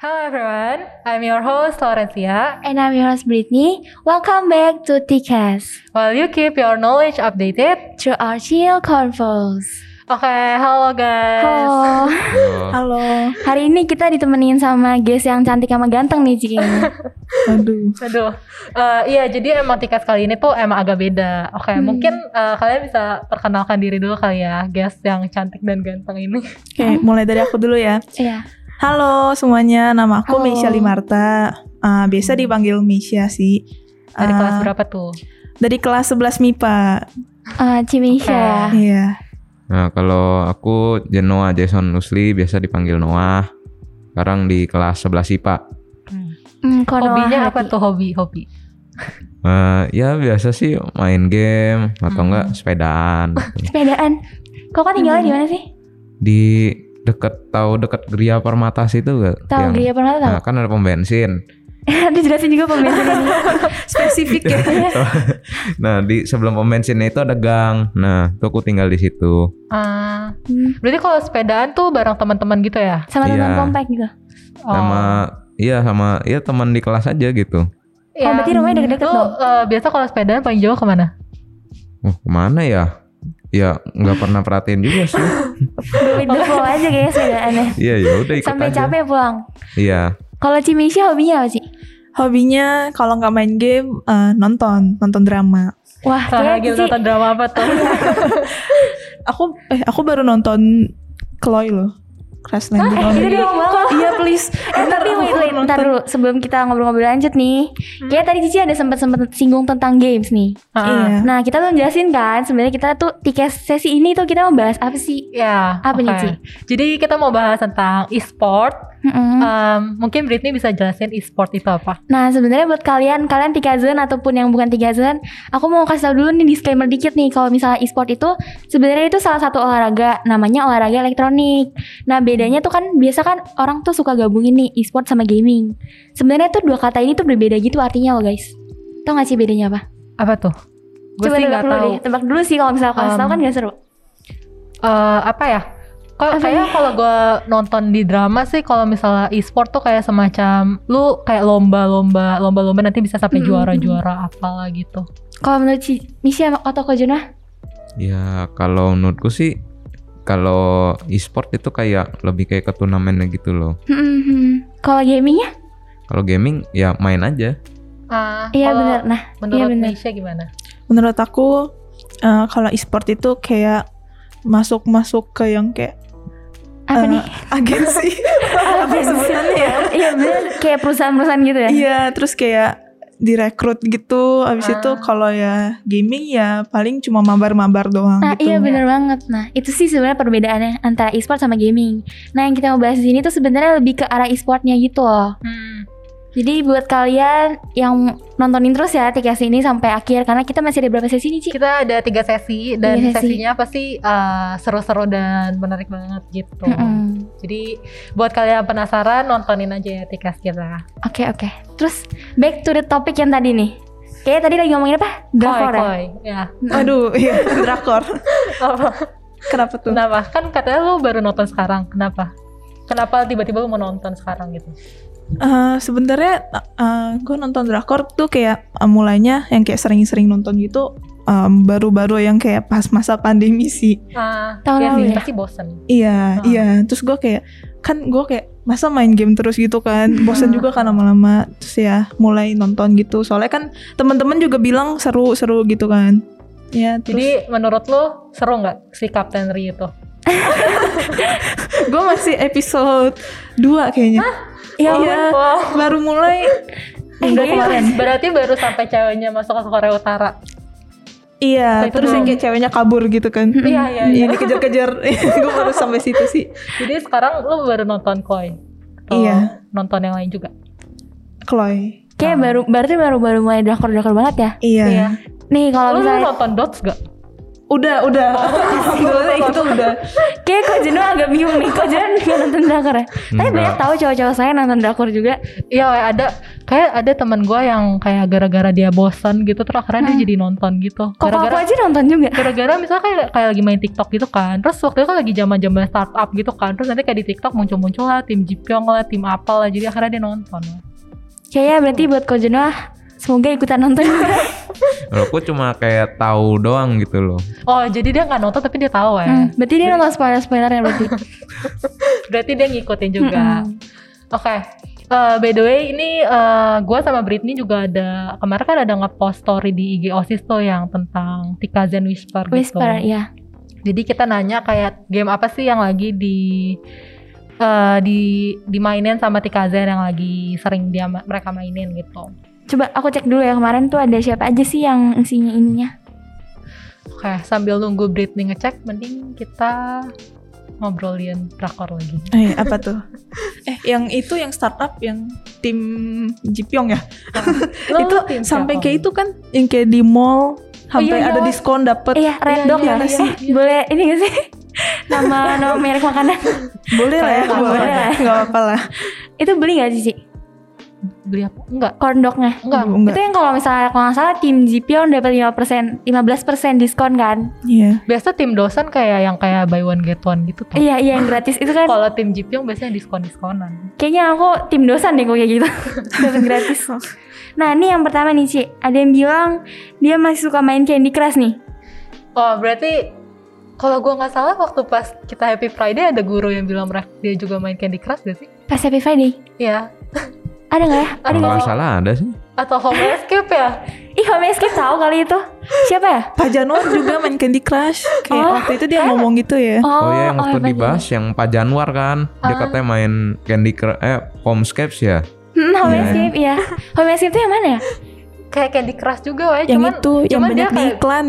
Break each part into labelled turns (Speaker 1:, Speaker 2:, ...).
Speaker 1: Hello everyone, I'm your host Laurencia.
Speaker 2: And I'm your host Brittany. Welcome back to TCAS
Speaker 1: While you keep your knowledge updated.
Speaker 2: through our chill convos.
Speaker 1: Oke, halo guys.
Speaker 2: Halo.
Speaker 3: Halo.
Speaker 4: Halo.
Speaker 2: Hari ini kita ditemenin sama guys yang cantik sama ganteng nih Ciki.
Speaker 4: Aduh.
Speaker 1: Aduh, Eh, iya jadi emang tiket kali ini tuh emang agak beda. Oke,
Speaker 2: Hmm.
Speaker 1: mungkin eh, kalian bisa perkenalkan diri dulu kali ya, guys yang cantik dan ganteng ini.
Speaker 4: Oke, mulai dari aku dulu ya.
Speaker 2: Iya.
Speaker 4: Halo semuanya, nama
Speaker 2: Halo.
Speaker 4: aku Meisya Limarta. Ah, biasa dipanggil Meisya sih.
Speaker 1: Dari
Speaker 4: Ah,
Speaker 1: kelas berapa tuh?
Speaker 4: Dari kelas 11 MIPA.
Speaker 2: Eh, Cimisha ya.
Speaker 4: Iya.
Speaker 3: Nah, kalau aku Jenoa Jason Lusli biasa dipanggil Noah. Sekarang di kelas 11 IPA.
Speaker 1: Hmm.
Speaker 2: Hmm, Konoha
Speaker 1: Hobinya
Speaker 2: Hadi.
Speaker 1: apa tuh hobi? Hobi.
Speaker 3: Eh, ya biasa sih main game atau enggak sepedaan gitu.
Speaker 2: Sepedaan. Kok kan tinggalnya di mana sih?
Speaker 3: Di deket tahu deket Gria Permata situ enggak?
Speaker 2: Tahu
Speaker 3: Yang-
Speaker 2: Gria pernah tahu?
Speaker 3: Nah, kan ada pom bensin. Iya.
Speaker 2: Nanti jelasin juga pembensin.
Speaker 4: Spesifik ya.
Speaker 3: nah, di sebelum pom bensinnya itu ada gang. Nah, tuh aku tinggal di situ.
Speaker 1: Ah,
Speaker 2: Hmm,
Speaker 1: berarti kalau sepedaan tuh bareng teman-teman gitu ya?
Speaker 2: Sama
Speaker 3: Iya.
Speaker 2: teman kompak gitu.
Speaker 1: Oh.
Speaker 3: Sama iya sama iya teman di kelas aja gitu.
Speaker 2: Oh, berarti rumahnya deket-deket
Speaker 1: Lu,
Speaker 2: dong.
Speaker 1: eh, biasa kalau sepedaan paling jauh kemana?
Speaker 3: Wah, kemana ya? Ya nggak pernah perhatiin juga sih.
Speaker 2: Go with the flow aja guys sepedaannya.
Speaker 3: Iya ya udah ikut
Speaker 2: Sampai
Speaker 3: aja.
Speaker 2: capek pulang.
Speaker 3: Iya.
Speaker 2: Kalau Cimisha hobinya apa sih?
Speaker 4: Hobinya kalau nggak main game eh, nonton, nonton drama.
Speaker 2: Wah,
Speaker 1: Sama
Speaker 2: kayak
Speaker 1: lagi
Speaker 2: Cici.
Speaker 1: gitu, nonton drama apa tuh?
Speaker 2: Iya.
Speaker 4: Aku eh aku baru nonton Chloe loh. Crash Landing
Speaker 2: Eh,
Speaker 4: on
Speaker 2: itu
Speaker 4: You.
Speaker 2: dia banget.
Speaker 4: Iya, please.
Speaker 2: Eh, tapi wait, wait, ntar dulu sebelum kita ngobrol-ngobrol lanjut nih Kayak tadi Cici ada sempat-sempat singgung tentang games nih
Speaker 1: Ah.
Speaker 4: Iya.
Speaker 2: Nah kita belum jelasin kan sebenarnya kita tuh tiket sesi ini tuh kita mau bahas apa sih
Speaker 1: Ya,
Speaker 2: Apa
Speaker 1: oke.
Speaker 2: nih, Ci?
Speaker 1: Jadi kita mau bahas tentang e-sport.
Speaker 2: Mm-mm.
Speaker 1: Um, mungkin Britney bisa jelasin e-sport itu apa?
Speaker 2: Nah sebenarnya buat kalian, kalian tiga zone ataupun yang bukan tiga zone Aku mau kasih tau dulu nih disclaimer dikit nih Kalau misalnya e-sport itu sebenarnya itu salah satu olahraga Namanya olahraga elektronik Nah bedanya tuh kan biasa kan orang tuh suka gabungin nih e-sport sama gaming Sebenarnya tuh dua kata ini tuh berbeda gitu artinya loh guys Tau gak sih bedanya apa?
Speaker 1: Apa tuh? Gue
Speaker 2: Coba
Speaker 1: sih
Speaker 2: tebak
Speaker 1: nggak
Speaker 2: dulu
Speaker 1: tahu.
Speaker 2: deh, tebak dulu sih kalau misalnya aku kasih tau
Speaker 1: Um,
Speaker 2: kan gak seru
Speaker 1: Eh, apa ya? Kok
Speaker 2: Apa
Speaker 1: kayak
Speaker 2: ya?
Speaker 1: kalau gue nonton di drama sih, kalau misalnya e-sport tuh kayak semacam lu kayak lomba-lomba, lomba-lomba nanti bisa sampai
Speaker 2: Mm-mm.
Speaker 1: juara-juara apalah gitu.
Speaker 2: Kalau menurut si Misi sama atau Kojuna
Speaker 3: Ya kalau menurutku sih kalau e-sport itu kayak lebih kayak ke turnamennya gitu loh.
Speaker 2: Kalau gamingnya?
Speaker 3: Kalau gaming ya main aja.
Speaker 1: Ah,
Speaker 2: Iya
Speaker 1: kalau
Speaker 2: benar. Nah
Speaker 1: Menurut
Speaker 2: benar.
Speaker 1: Nisha gimana?
Speaker 4: Menurut aku eh, kalau e-sport itu kayak masuk-masuk ke yang kayak
Speaker 2: apa
Speaker 4: Eh,
Speaker 2: nih?
Speaker 4: agensi apa sebutannya ya
Speaker 2: Iya benar. Kayak perusahaan-perusahaan gitu ya?
Speaker 4: iya terus kayak direkrut gitu abis
Speaker 1: Ah.
Speaker 4: itu kalau ya gaming ya paling cuma mabar-mabar doang
Speaker 2: Nah
Speaker 4: gitu
Speaker 2: iya benar banget. Nah itu sih sebenarnya perbedaannya antara e-sport sama gaming. Nah yang kita mau bahas di sini tuh sebenarnya lebih ke arah e-sportnya gitu loh.
Speaker 1: Hmm.
Speaker 2: Jadi buat kalian yang nontonin terus ya TKS ini sampai akhir karena kita masih ada berapa sesi nih Ci?
Speaker 1: Kita ada tiga sesi dan
Speaker 2: Tiga sesi.
Speaker 1: sesinya pasti eh, seru-seru dan menarik banget gitu.
Speaker 2: Hmm, Mm-mm.
Speaker 1: Jadi buat kalian yang penasaran nontonin aja ya tikas kita.
Speaker 2: Oke oke. Terus back to the topic yang tadi nih. Kayaknya tadi lagi ngomongin apa? Drakor ya.
Speaker 1: Koi, ya.
Speaker 4: aduh iya drakor
Speaker 1: Apa?
Speaker 4: kenapa tuh
Speaker 2: Nah.
Speaker 1: Kenapa? Kan katanya lu baru nonton sekarang. Kenapa? Kenapa tiba-tiba lu mau nonton sekarang gitu?
Speaker 4: Eh, sebenarnya gue nonton drakor tuh kayak eh, mulainya yang kayak sering-sering nonton gitu em, baru-baru yang kayak pas masa pandemi sih
Speaker 1: Ah,
Speaker 2: Tahun
Speaker 1: ya
Speaker 2: lalu
Speaker 1: sih,
Speaker 2: ya?
Speaker 1: pasti bosen.
Speaker 4: Iya,
Speaker 1: Ah.
Speaker 4: iya. Terus gue kayak kan gue kayak masa main game terus gitu kan, bosan
Speaker 1: Ah.
Speaker 4: juga kan lama-lama. Terus ya mulai nonton gitu. Soalnya kan teman-teman juga bilang seru-seru gitu kan. Ya, terus
Speaker 1: Jadi menurut lu seru nggak si Kapten Ri itu?
Speaker 4: gue masih episode 2 kayaknya.
Speaker 2: Ya
Speaker 1: Oh,
Speaker 4: Iya,
Speaker 1: Wow.
Speaker 4: baru mulai. Iya.
Speaker 1: Udah
Speaker 4: Minggu kemarin.
Speaker 1: kemarin. Berarti baru sampai ceweknya masuk ke Korea Utara.
Speaker 4: Iya,
Speaker 1: Tapi
Speaker 4: terus yang
Speaker 1: belum.
Speaker 4: kayak ceweknya kabur gitu kan.
Speaker 1: Iya, iya, iya.
Speaker 4: Yang dikejar-kejar. gue baru sampai situ sih.
Speaker 1: Jadi sekarang lu baru nonton Koi. Atau
Speaker 4: Iya.
Speaker 1: Nonton yang lain juga.
Speaker 4: Chloe.
Speaker 2: Kayak baru berarti baru baru mulai drakor drakor banget ya.
Speaker 4: Iya.
Speaker 2: Nih kalau
Speaker 1: Lu, lu
Speaker 2: misalnya
Speaker 1: nonton Dots gak?
Speaker 4: Udah, udah. Sebenarnya itu udah.
Speaker 2: Kayak kok Jeno agak bingung nih, kok Jeno nggak nonton drakor ya?
Speaker 1: Hmm,
Speaker 2: Tapi
Speaker 3: Enggak.
Speaker 2: banyak tahu cowok-cowok saya nonton drakor juga.
Speaker 1: Iya kayak ada kayak ada teman gue yang kayak gara-gara dia bosan gitu terus akhirnya dia jadi nonton gitu.
Speaker 2: Kok aku
Speaker 1: Gara-gara
Speaker 2: aja nonton juga.
Speaker 1: gara-gara misalnya kayak, kayak lagi main TikTok gitu kan. Terus waktu itu kan lagi zaman-zaman startup gitu kan. Terus nanti kayak di TikTok muncul-muncul lah tim Jipyong lah, tim apa lah. Jadi akhirnya dia nonton.
Speaker 2: Kayaknya Ya, berarti buat kok Jeno ah, semoga ikutan nonton juga.
Speaker 3: Loh, aku cuma kayak tahu doang gitu loh.
Speaker 1: Oh, jadi dia nggak nonton tapi dia tahu ya.
Speaker 2: Hmm, berarti dia nonton spoiler-spoilernya berarti. Hmm,
Speaker 1: Berarti dia ngikutin juga.
Speaker 2: Mm-mm.
Speaker 1: Oke. Eh, by the way, ini gue sama Britney juga ada kemarin kan ada nge-post story di IG OSIS tuh yang tentang Tika Zen Whisper,
Speaker 2: Whisper,
Speaker 1: gitu.
Speaker 2: ya.
Speaker 1: Jadi kita nanya kayak game apa sih yang lagi di eh, di dimainin sama Tika Zen yang lagi sering dia mereka mainin gitu.
Speaker 2: Coba aku cek dulu ya kemarin tuh ada siapa aja sih yang isinya ininya.
Speaker 1: Oke, sambil nunggu Britney ngecek, mending kita ngobrolin drakor lagi.
Speaker 4: Eh, apa tuh? Eh, yang itu yang startup yang tim Jipyong ya.
Speaker 1: Lo
Speaker 4: itu
Speaker 1: tim
Speaker 4: sampai
Speaker 1: siapa?
Speaker 4: kayak itu kan yang kayak di mall sampai
Speaker 1: iya,
Speaker 4: ada
Speaker 1: iya.
Speaker 4: diskon dapat.
Speaker 2: Iya, Red
Speaker 1: Iya,
Speaker 2: Dog
Speaker 1: iya,
Speaker 2: ya?
Speaker 1: iya,
Speaker 2: Eh, boleh ini gak sih? nama nama merek makanan.
Speaker 4: Boleh lah ya,
Speaker 1: Kayak
Speaker 4: boleh.
Speaker 2: boleh lah.
Speaker 4: Enggak apa-apa lah.
Speaker 2: Itu beli gak sih, Ci?
Speaker 1: beli apa? Enggak,
Speaker 2: Corn dognya.
Speaker 1: enggak.
Speaker 4: Enggak.
Speaker 2: Itu yang kalau misalnya kalau nggak salah tim Jipyeon dapat 5% 15% diskon kan?
Speaker 4: Iya.
Speaker 1: Biasa tim dosen kayak yang kayak buy one get one gitu tuh.
Speaker 2: Iya, iya yang gratis itu kan.
Speaker 1: Kalau tim Jipyong biasanya diskon-diskonan.
Speaker 2: Kayaknya aku tim dosan deh kok kayak gitu. dapat gratis. Nah, ini yang pertama nih, Ci. Ada yang bilang dia masih suka main Candy Crush nih.
Speaker 1: Oh berarti kalau gua nggak salah waktu pas kita Happy Friday ada guru yang bilang mereka dia juga main Candy Crush gak sih?
Speaker 2: Pas Happy Friday.
Speaker 1: Iya.
Speaker 2: Ada nggak ya? Ada
Speaker 3: Kalau
Speaker 2: nggak?
Speaker 3: nggak salah ada sih.
Speaker 1: Atau Home Escape ya?
Speaker 2: Ih, Home Escape tahu kali itu. Siapa ya?
Speaker 4: Pak Januar juga main Candy Crush. Kayak
Speaker 2: Oh,
Speaker 4: waktu itu dia ngomong gitu ya.
Speaker 3: Oh, iya yang waktu
Speaker 2: Pak
Speaker 3: dibahas yang Pak Januar kan. Dia katanya main Candy Crush eh Homescapes ya.
Speaker 2: Hmm, Home
Speaker 3: Iya.
Speaker 2: Escape, iya. Home Escape itu yang mana ya?
Speaker 1: Kayak Candy Crush juga ya,
Speaker 4: yang
Speaker 1: cuman
Speaker 4: itu yang
Speaker 1: cuman dia
Speaker 4: banyak di
Speaker 1: kayak
Speaker 4: iklan.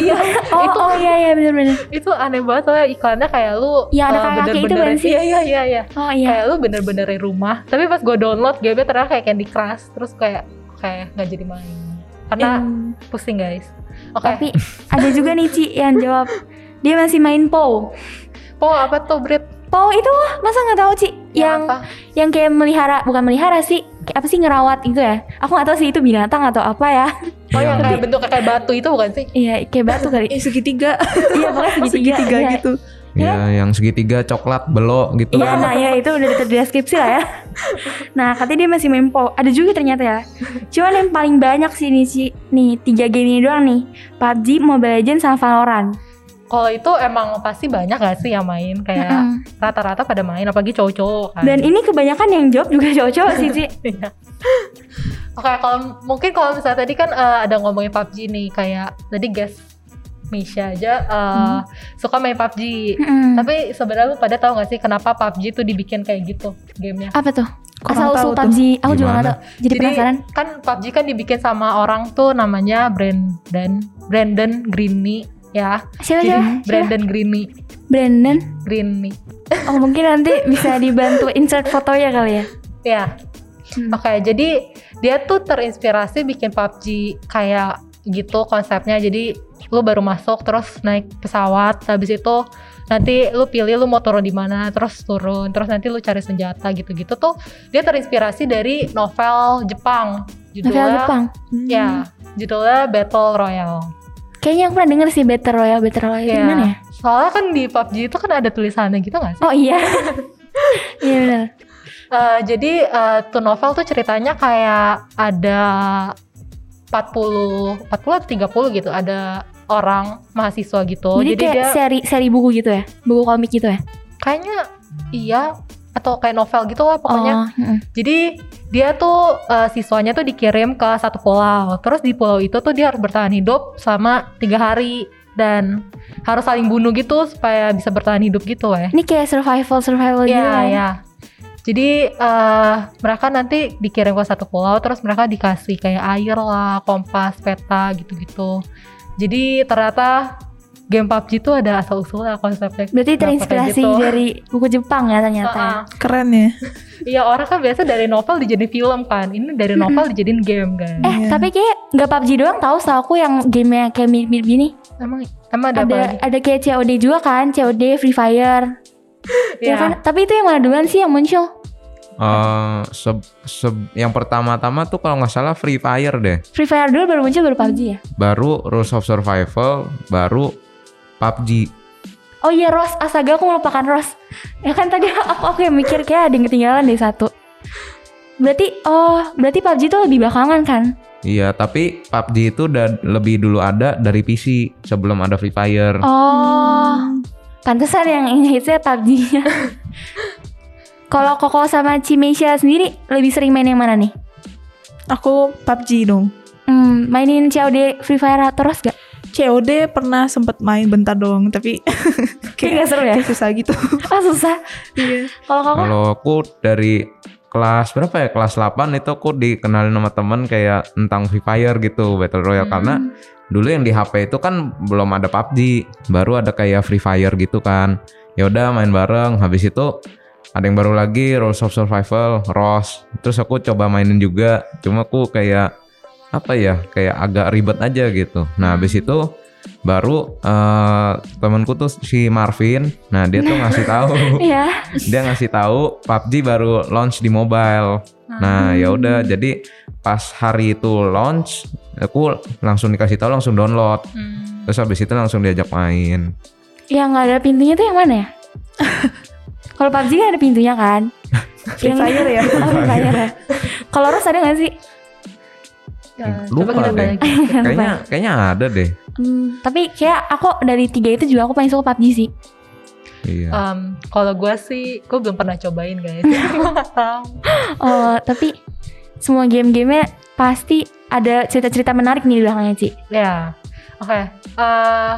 Speaker 1: iya,
Speaker 2: Oh,
Speaker 1: itu
Speaker 2: oh iya iya benar-benar.
Speaker 1: itu aneh banget soalnya iklannya kayak lu
Speaker 2: Yang ada
Speaker 1: eh,
Speaker 2: kakak-kakak itu
Speaker 1: bener-benerin-
Speaker 2: bukan sih?
Speaker 1: Iya iya iya iya.
Speaker 2: Oh iya.
Speaker 3: Eh,
Speaker 1: Kayak lu bener-bener di rumah. Tapi pas gue download gamenya ternyata kayak Candy Crush terus kayak kayak nggak jadi main. Karena pusing guys. Oke.
Speaker 2: Tapi ada juga nih Ci yang jawab dia masih main POW.
Speaker 1: Po apa tuh Brit?
Speaker 2: POW itu wah, masa nggak tahu Ci? Yang
Speaker 1: Ya, apa?
Speaker 2: yang kayak melihara bukan melihara sih, kayak apa sih ngerawat gitu ya? Aku nggak tahu sih itu binatang atau apa ya.
Speaker 1: Oh yang
Speaker 3: Yang-
Speaker 1: kayak bentuknya kayak batu itu bukan sih?
Speaker 2: Iya, kayak batu kali.
Speaker 4: Eh segitiga,
Speaker 2: iya, pokoknya segitiga.
Speaker 4: segitiga
Speaker 2: iya.
Speaker 4: gitu.
Speaker 3: Iya, yang segitiga coklat belok gitu
Speaker 2: Iya,
Speaker 3: kan.
Speaker 2: nah ya itu udah terdeskripsi lah ya. Nah, katanya dia masih main POW. Ada juga ternyata ya. Cuman yang paling banyak sih nih Ci, nih tiga game ini doang nih. PUBG, Mobile Legends, sama Valorant.
Speaker 1: Kalau itu emang pasti banyak gak sih yang main kayak
Speaker 2: Mm-mm.
Speaker 1: rata-rata pada main apalagi cowok-cowok kan.
Speaker 2: Dan ini kebanyakan yang jawab juga cowok-cowok sih, Ci.
Speaker 1: Iya. Oke, kalau mungkin kalau misalnya tadi kan eh, ada ngomongin PUBG nih kayak tadi guys Misha aja eh, suka main PUBG.
Speaker 2: Mm-mm.
Speaker 1: Tapi sebenarnya lu pada tahu gak sih kenapa PUBG tuh dibikin kayak gitu gamenya?
Speaker 2: apa tuh? Asal
Speaker 4: Kurang
Speaker 2: usul
Speaker 4: tahu tuh.
Speaker 2: PUBG, aku juga nggak
Speaker 3: Gimana?
Speaker 2: tahu. Jadi, penasaran.
Speaker 1: kan PUBG kan dibikin sama orang tuh namanya Brandon Brandon Greeny ya.
Speaker 2: Siapa
Speaker 1: Jadi
Speaker 2: siapa? siapa?
Speaker 1: Brandon Greeny
Speaker 2: Brandon.
Speaker 1: Greeny.
Speaker 2: Oh mungkin nanti bisa dibantu insert fotonya kali ya.
Speaker 1: Ya,
Speaker 2: Hmm.
Speaker 1: Oke, jadi dia tuh terinspirasi bikin PUBG kayak gitu konsepnya. Jadi lu baru masuk terus naik pesawat, habis itu nanti lu pilih lu mau turun di mana, terus turun, terus nanti lu cari senjata gitu-gitu tuh dia terinspirasi dari novel Jepang.
Speaker 2: Novel
Speaker 1: Judulnya
Speaker 2: Jepang.
Speaker 4: Hmm,
Speaker 2: Hmm.
Speaker 1: Ya, judulnya Battle Royale.
Speaker 2: Kayaknya aku pernah denger sih Battle Royale, Battle Royale itu
Speaker 1: Iya.
Speaker 2: gimana ya?
Speaker 1: Soalnya kan di PUBG itu kan ada tulisannya gitu nggak sih?
Speaker 2: Oh iya. Iya benar.
Speaker 1: Eh, jadi eh, tuh novel tuh ceritanya kayak ada 40 40 atau 30 gitu ada orang mahasiswa gitu
Speaker 2: Jadi,
Speaker 1: jadi,
Speaker 2: kayak
Speaker 1: dia
Speaker 2: seri seri buku gitu ya, buku komik gitu ya.
Speaker 1: kayaknya iya atau kayak novel gitu lah pokoknya
Speaker 2: Oh, mm-mm.
Speaker 1: jadi dia tuh eh, siswanya tuh dikirim ke satu pulau terus di pulau itu tuh dia harus bertahan hidup selama tiga hari dan harus saling bunuh gitu supaya bisa bertahan hidup gitu ya
Speaker 2: Ini kayak survival survival gitu.
Speaker 1: Iya,
Speaker 2: kan?
Speaker 1: iya. Jadi eh, mereka nanti dikirim ke satu pulau, terus mereka dikasih kayak air lah, kompas, peta gitu-gitu. Jadi ternyata game PUBG itu ada asal usulnya konsepnya.
Speaker 2: Berarti
Speaker 1: Kenapa kayak
Speaker 2: terinspirasi
Speaker 1: gitu?
Speaker 2: dari buku Jepang ya ternyata.
Speaker 1: Heeh.
Speaker 4: Keren ya.
Speaker 1: Iya orang kan biasa dari novel dijadiin film kan, ini dari
Speaker 2: Mm-mm.
Speaker 1: novel dijadiin game kan.
Speaker 2: Eh
Speaker 4: Iya.
Speaker 2: tapi kayak nggak PUBG doang tahu, setahu aku yang gamenya kayak mirip-mirip gini.
Speaker 1: Emang Emang ada, apa
Speaker 2: ada ya
Speaker 1: lagi?
Speaker 2: ada kayak COD juga kan COD Free Fire
Speaker 1: Iya.
Speaker 2: ya kan tapi itu yang mana duluan sih yang muncul
Speaker 3: Eh, se- se- yang pertama-tama tuh kalau nggak salah Free Fire deh.
Speaker 2: Free Fire dulu baru muncul baru PUBG ya
Speaker 3: Baru Rules of Survival, baru PUBG.
Speaker 2: oh iya Ros astaga aku melupakan Ros ya kan tadi aku aku yang mikir kayak ada yang ketinggalan deh satu berarti oh berarti PUBG itu lebih belakangan kan
Speaker 3: Iya, tapi PUBG itu udah lebih dulu ada dari PC sebelum ada Free Fire.
Speaker 2: oh pantesan yang hitsnya PUBG nya kalau Koko sama Cimesia sendiri lebih sering main yang mana nih
Speaker 4: Aku PUBG dong.
Speaker 2: hmm, mainin COD Free Fire atau Ros gak
Speaker 4: COD pernah sempet main bentar doang, tapi
Speaker 2: kayak gak seru ya
Speaker 4: kayak susah gitu.
Speaker 2: ah susah
Speaker 4: Iya.
Speaker 2: kalau Koko
Speaker 3: Kalau aku dari kelas berapa ya? Kelas 8 itu aku dikenalin sama temen kayak tentang Free Fire gitu, Battle Royale karena
Speaker 2: Hmm.
Speaker 3: dulu yang di HP itu kan belum ada PUBG, baru ada kayak Free Fire gitu kan. Ya udah main bareng, habis itu ada yang baru lagi Rules of Survival, ROS. Terus aku coba mainin juga, cuma aku kayak apa ya, kayak agak ribet aja gitu. Nah, habis itu baru eh, temanku tuh si Marvin, nah dia tuh ngasih tahu,
Speaker 2: Iya.
Speaker 3: dia ngasih tahu PUBG baru launch di mobile. Nah, ya udah jadi pas hari itu launch, aku langsung dikasih tahu langsung download.
Speaker 1: Hmm.
Speaker 3: Terus habis itu langsung diajak main.
Speaker 2: Yang nggak ada pintunya tuh yang mana ya? Kalau PUBG kan ada pintunya kan?
Speaker 4: Free Fire ya.
Speaker 2: Oh, Free Fire ya. Kalau Ros ada nggak sih?
Speaker 1: Ya,
Speaker 3: Lupa
Speaker 1: coba kita
Speaker 3: deh.
Speaker 1: balik.
Speaker 3: Kayaknya kayaknya ada deh.
Speaker 2: Hmm, tapi kayak aku dari tiga itu juga aku paling suka PUBG sih.
Speaker 3: Iya.
Speaker 1: Em, kalau gue sih, gue belum pernah cobain guys. Gue nggak tahu.
Speaker 2: Oh, tapi semua game-gamenya pasti ada cerita-cerita menarik nih di belakangnya Ci.
Speaker 1: Ya, oke. Eh,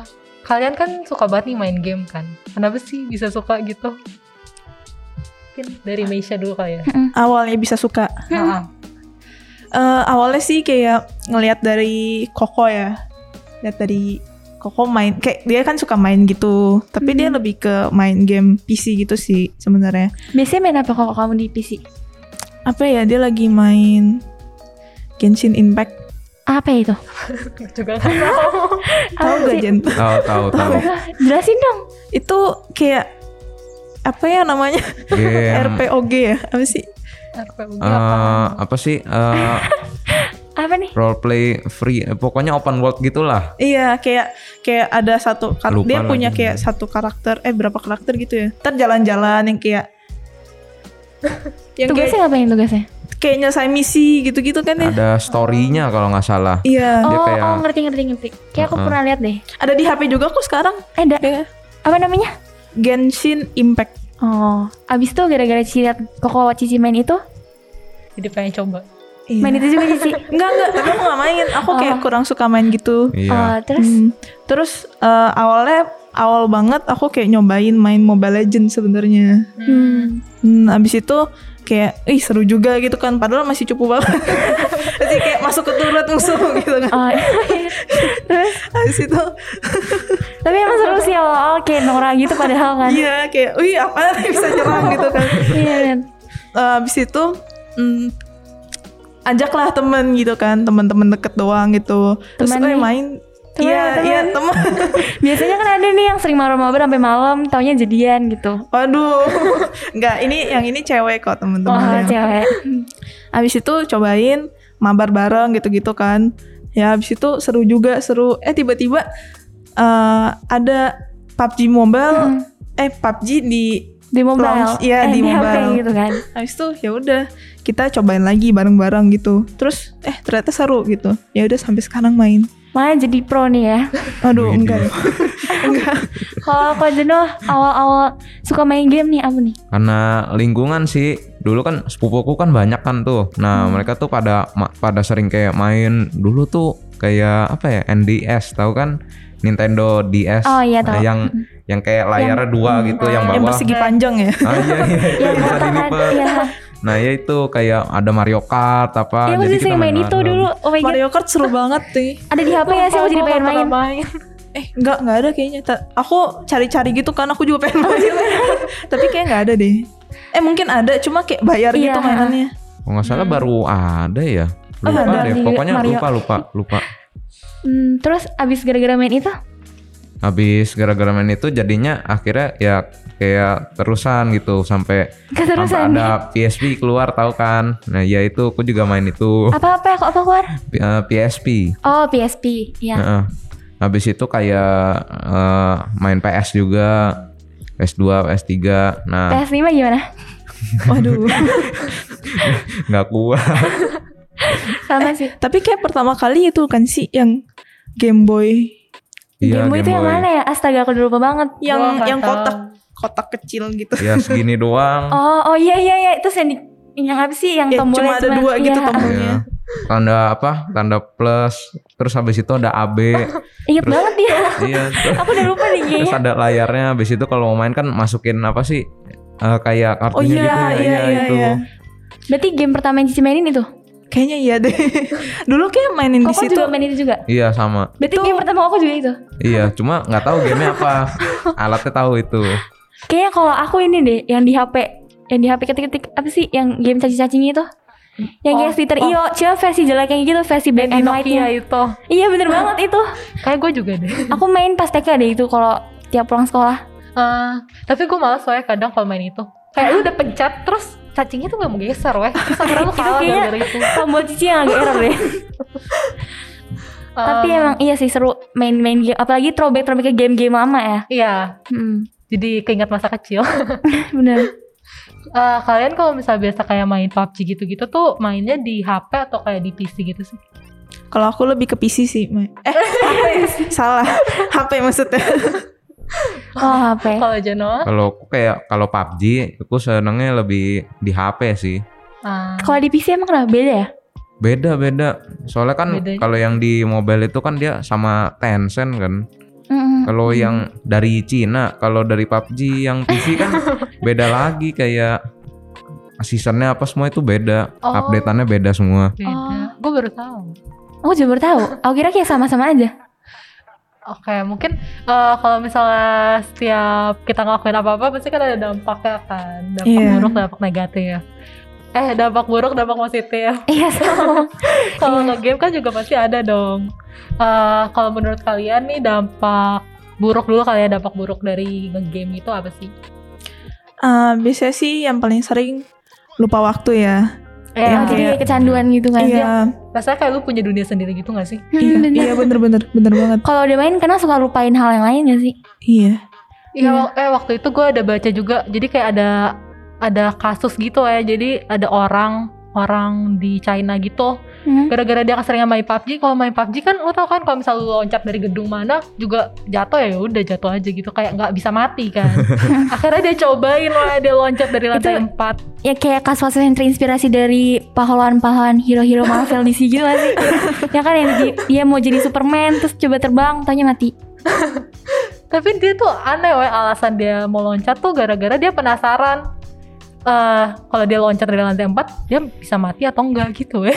Speaker 1: kalian kan suka banget nih main game kan? Kenapa sih bisa suka gitu? Mungkin
Speaker 2: Ah.
Speaker 1: dari Meisha dulu kali ya.
Speaker 4: Awalnya bisa suka.
Speaker 1: Heeh.
Speaker 4: Eh, awalnya sih kayak ngelihat dari Koko ya. Lihat dari Koko main kayak dia kan suka main gitu, tapi dia
Speaker 2: Hmm.
Speaker 4: lebih ke main game PC gitu sih sebenarnya.
Speaker 2: Biasanya main apa kalau kamu di PC?
Speaker 4: Apa ya dia lagi main Genshin Impact.
Speaker 2: Apa ya itu?
Speaker 1: Juga nggak tahu.
Speaker 4: Tahu
Speaker 2: Apa
Speaker 4: gak
Speaker 2: sih?
Speaker 4: Jen?
Speaker 3: Tahu tahu tahu.
Speaker 2: Jelasin dong.
Speaker 4: Itu kayak apa ya namanya?
Speaker 3: Game
Speaker 4: RPOG ya. Apa sih?
Speaker 1: RPG
Speaker 3: eh,
Speaker 1: apaan?
Speaker 3: apa sih eh,
Speaker 2: Apa nih?
Speaker 3: role play free eh, pokoknya open world gitulah
Speaker 4: Iya, kayak kayak ada satu kar-
Speaker 3: Lupa
Speaker 4: dia
Speaker 3: lagi
Speaker 4: punya kayak
Speaker 3: namanya.
Speaker 4: satu karakter eh berapa karakter gitu ya. Ntar jalan-jalan yang kayak yang kayak,
Speaker 2: Tugasnya ngapain tugasnya?
Speaker 4: kayak nyelesain misi gitu-gitu kan
Speaker 2: Ah.
Speaker 4: ya.
Speaker 3: ada story-nya kalau nggak salah
Speaker 4: Iya,
Speaker 2: Oh,
Speaker 3: kayak-
Speaker 2: oh, ngerti ngerti ngerti. Kayak aku
Speaker 3: Uh-uh.
Speaker 2: pernah lihat deh.
Speaker 4: ada di HP juga kok sekarang.
Speaker 2: Ada
Speaker 4: Ya.
Speaker 2: apa namanya?
Speaker 4: Genshin Impact.
Speaker 2: Oh, abis itu gara-gara Cici liat Koko Cici main itu,
Speaker 1: Jadi pengen coba.
Speaker 4: Iya.
Speaker 2: main itu juga Cici.
Speaker 4: Enggak, enggak, tapi aku gak main. Aku kayak
Speaker 2: Oh.
Speaker 4: kurang suka main gitu.
Speaker 3: iya
Speaker 2: Oh, terus
Speaker 4: Hmm. Terus eh, awalnya awal banget aku kayak nyobain main Mobile Legends sebenarnya.
Speaker 2: hmm,
Speaker 4: Hmm, abis itu kayak, ih seru juga gitu kan. Padahal masih cupu banget. Jadi kayak masuk ke turut musuh gitu kan.
Speaker 2: oh, terus
Speaker 4: Abis itu,
Speaker 2: tapi emang seru sih awal-awal kayak Nora gitu padahal kan.
Speaker 4: iya kayak, wih apa bisa nyerang gitu kan.
Speaker 2: Iya kan.
Speaker 4: Eh, abis itu, hmm, ajaklah temen gitu kan. Temen-temen deket doang gitu. Terus
Speaker 2: Teman
Speaker 4: eh,
Speaker 2: nih.
Speaker 4: main.
Speaker 2: Teman,
Speaker 4: Iya,
Speaker 2: teman.
Speaker 4: iya temen.
Speaker 2: Biasanya kan ada nih yang sering mabar-mabar sampai malam, taunya jadian gitu.
Speaker 4: Waduh, enggak ini yang ini cewek kok
Speaker 2: Oh,
Speaker 4: temen-temen.
Speaker 2: cewek.
Speaker 4: Abis itu cobain mabar bareng gitu-gitu kan. Ya abis itu seru juga seru. Eh tiba-tiba eh, ada PUBG
Speaker 2: Hmm.
Speaker 4: Mobile, eh PUBG di
Speaker 2: Di mobile.
Speaker 4: Launch, iya,
Speaker 2: Eh,
Speaker 4: di
Speaker 2: HP
Speaker 4: mobile.
Speaker 2: gitu kan.
Speaker 4: abis itu ya udah kita cobain lagi bareng-bareng gitu. Terus eh ternyata seru gitu. Ya udah sampai sekarang main.
Speaker 2: Malah jadi pro nih ya.
Speaker 4: Aduh
Speaker 3: Widih.
Speaker 4: enggak. enggak.
Speaker 2: Kalau Kak Jeno awal-awal suka main game nih apa nih?
Speaker 3: karena lingkungan sih dulu kan sepupuku kan banyak kan tuh nah
Speaker 2: Hmm.
Speaker 3: mereka tuh pada ma- pada sering kayak main dulu tuh kayak apa ya NDS tahu kan Nintendo DS
Speaker 2: Oh, iya,
Speaker 3: Nah,
Speaker 2: tahu.
Speaker 3: yang yang kayak layarnya dua
Speaker 2: hmm,
Speaker 3: gitu yang
Speaker 4: Yang
Speaker 3: bawah
Speaker 4: persegi panjang ya.
Speaker 3: ah iya iya itu
Speaker 2: Yang
Speaker 3: bisa
Speaker 2: kotak kan?
Speaker 3: dilipat
Speaker 2: Iya.
Speaker 3: nah ya itu kayak ada Mario Kart apa
Speaker 2: Iya, aku
Speaker 3: jadi
Speaker 2: sih
Speaker 3: kita
Speaker 2: sering main
Speaker 3: main
Speaker 2: itu
Speaker 3: bareng.
Speaker 2: dulu. Oh my god.
Speaker 4: Mario Kart seru banget nih.
Speaker 2: Ada di HP ya sih aku jadi
Speaker 1: Lupa,
Speaker 2: pengen
Speaker 1: lupa,
Speaker 2: main.
Speaker 1: lupa
Speaker 4: Eh, enggak, enggak ada kayaknya. Ta- aku cari-cari gitu kan, aku juga pengen main. Tapi kayaknya enggak ada deh. Eh, mungkin ada, cuma kayak bayar
Speaker 2: Iya.
Speaker 4: gitu mainannya.
Speaker 3: kalau nggak salah baru ada ya
Speaker 2: Hmm. Oh,
Speaker 3: lupa
Speaker 2: ada
Speaker 3: deh
Speaker 2: juga
Speaker 3: pokoknya
Speaker 2: Mario.
Speaker 3: lupa lupa lupa
Speaker 2: Hmm, terus abis gara-gara main itu,
Speaker 3: habis gara-gara main itu jadinya akhirnya ya kayak terusan gitu sampai sampai
Speaker 2: Keterusan.
Speaker 3: ada PSP keluar tahu kan nah ya itu aku juga main itu
Speaker 2: Apa apa ya kok apa keluar?
Speaker 3: P- eh, PSP
Speaker 2: Oh PSP. Ya.
Speaker 3: Heeh. Habis itu kayak eh, main PS juga. PS2, PS3. Nah,
Speaker 2: PS5 gimana?
Speaker 4: Waduh.
Speaker 3: nggak kuat.
Speaker 2: Sama sih.
Speaker 4: Tapi kayak pertama kali itu kan sih yang Game Boy
Speaker 3: Iya,
Speaker 2: Game Boy itu yang mana ya? Astaga aku udah lupa banget.
Speaker 4: yang
Speaker 1: Gua nggak
Speaker 4: yang
Speaker 1: tahu.
Speaker 4: kotak kotak kecil gitu.
Speaker 3: Ya segini doang.
Speaker 2: Oh oh iya iya iya itu yang di, yang apa sih yang
Speaker 4: Ya,
Speaker 2: tombolnya
Speaker 4: cuma ada dua
Speaker 2: iya.
Speaker 4: gitu tombolnya.
Speaker 3: Iya. Tanda apa? Tanda plus. Terus habis itu ada AB.
Speaker 2: Ingat
Speaker 3: Terus-
Speaker 2: banget ya.
Speaker 3: iya. Terus,
Speaker 2: Aku udah lupa nih iya,
Speaker 3: terus
Speaker 2: kayaknya.
Speaker 3: ada layarnya. Habis itu kalau mau main kan masukin apa sih? Eh, kayak kartunya
Speaker 4: Oh iya,
Speaker 3: gitu ya.
Speaker 4: iya, iya,
Speaker 3: itu.
Speaker 4: iya.
Speaker 2: Berarti game pertama yang Cici mainin itu.
Speaker 4: Kayaknya iya deh. Dulu kayak mainin di
Speaker 2: Koko
Speaker 4: situ.
Speaker 2: juga main itu juga.
Speaker 3: Iya sama.
Speaker 2: Berarti game pertama aku juga itu.
Speaker 3: Iya, cuma nggak tahu gamenya apa. Alatnya tahu itu.
Speaker 2: Kayaknya kalau aku ini deh yang di HP yang di HP ketik-ketik apa sih yang game cacing-cacingnya itu? Yang kayak
Speaker 1: Oh,
Speaker 2: Twitter
Speaker 1: oh.
Speaker 2: Iyo, cuma versi jelek kayak gitu, versi black
Speaker 1: Yang di
Speaker 2: and
Speaker 1: Nokia
Speaker 2: white-nya.
Speaker 1: itu.
Speaker 2: Iya bener banget itu.
Speaker 1: Kayak gue juga deh.
Speaker 2: Aku main pas TK deh itu kalau tiap pulang sekolah.
Speaker 1: Eh, tapi gue malas soalnya kadang kalau main itu. Kayak lu udah pencet terus cacingnya tuh gak mau geser weh. Terus akhirnya lu
Speaker 2: Itu
Speaker 1: kalah
Speaker 2: kayaknya-
Speaker 1: gara-gara itu.
Speaker 2: Tombol cici yang agak error deh. Tapi
Speaker 1: Em,
Speaker 2: emang iya sih seru main-main game, apalagi throwback-throwback ke game-game lama ya.
Speaker 1: Iya.
Speaker 2: Hmm,
Speaker 1: Jadi keinget masa kecil.
Speaker 2: bener.
Speaker 1: Eh, kalian kalau misalnya biasa kayak main PUBG gitu-gitu tuh mainnya di HP atau kayak di PC gitu sih?
Speaker 4: Kalau aku lebih ke PC sih. Ma. Eh, HP. salah. HP maksudnya.
Speaker 2: Oh HP.
Speaker 1: Kalau Jenoa?
Speaker 3: Kalau aku kayak kalau PUBG, aku senengnya lebih di HP sih.
Speaker 1: ah,
Speaker 2: Kalau di PC emang kenapa beda ya?
Speaker 3: Beda beda. Soalnya kan
Speaker 1: Bedanya.
Speaker 3: kalau yang di mobile itu kan dia sama Tencent kan.
Speaker 2: Mm-mm.
Speaker 3: Kalau
Speaker 1: Hmm.
Speaker 3: yang dari Cina, kalau dari PUBG yang PC kan beda lagi kayak seasonnya apa semua itu beda.
Speaker 1: Oh.
Speaker 3: Updateannya beda semua.
Speaker 4: Oh.
Speaker 1: beda. Gue baru tahu.
Speaker 2: Aku juga baru tahu. Aku kira kayak sama-sama aja.
Speaker 1: Oke, mungkin eh, kalau misalnya setiap kita ngelakuin apa-apa pasti kan ada dampaknya kan. Dampak
Speaker 4: Iya.
Speaker 1: buruk, dampak negatif. Eh, dampak buruk, dampak positif.
Speaker 2: Iya sama.
Speaker 1: Kalau
Speaker 2: Iya.
Speaker 1: nge-game kan juga pasti ada dong. Eh, kalau menurut kalian nih dampak buruk dulu kali ya dampak buruk dari nge-game itu apa sih?
Speaker 4: Eh, biasanya sih yang paling sering lupa waktu ya.
Speaker 1: Eh,
Speaker 4: Iya,
Speaker 2: Oh, jadi kayak kecanduan gitu kan?
Speaker 4: Iya,
Speaker 1: rasanya kayak lu punya dunia sendiri gitu gak sih?
Speaker 2: Hmm,
Speaker 4: iya,
Speaker 2: bener.
Speaker 4: iya bener-bener, bener banget.
Speaker 2: Kalau udah main karena suka lupain hal yang lain gak sih?
Speaker 4: Iya.
Speaker 1: Iya,
Speaker 2: Iya.
Speaker 1: wa- eh waktu itu gue ada baca juga. Jadi kayak ada ada kasus gitu ya. Jadi ada orang orang di China gitu.
Speaker 2: Hmm.
Speaker 1: Gara-gara dia keseringan main PUBG. Kalau main PUBG kan lo tau kan kalau misal lu loncat dari gedung mana juga jatuh ya udah jatuh aja gitu. Kayak nggak bisa mati kan. Akhirnya dia cobain lah dia loncat dari lantai
Speaker 2: Itu-
Speaker 1: 4
Speaker 2: Ya kayak kasus-kasus yang terinspirasi dari pahlawan-pahlawan hero-hero Marvel di sih gitu gak sih? ya kan yang di- dia mau jadi Superman terus coba terbang taunya mati.
Speaker 1: Tapi dia tuh aneh weh alasan dia mau loncat tuh gara-gara dia penasaran. eh kalau dia loncat dari lantai 4 dia bisa mati atau enggak gitu weh.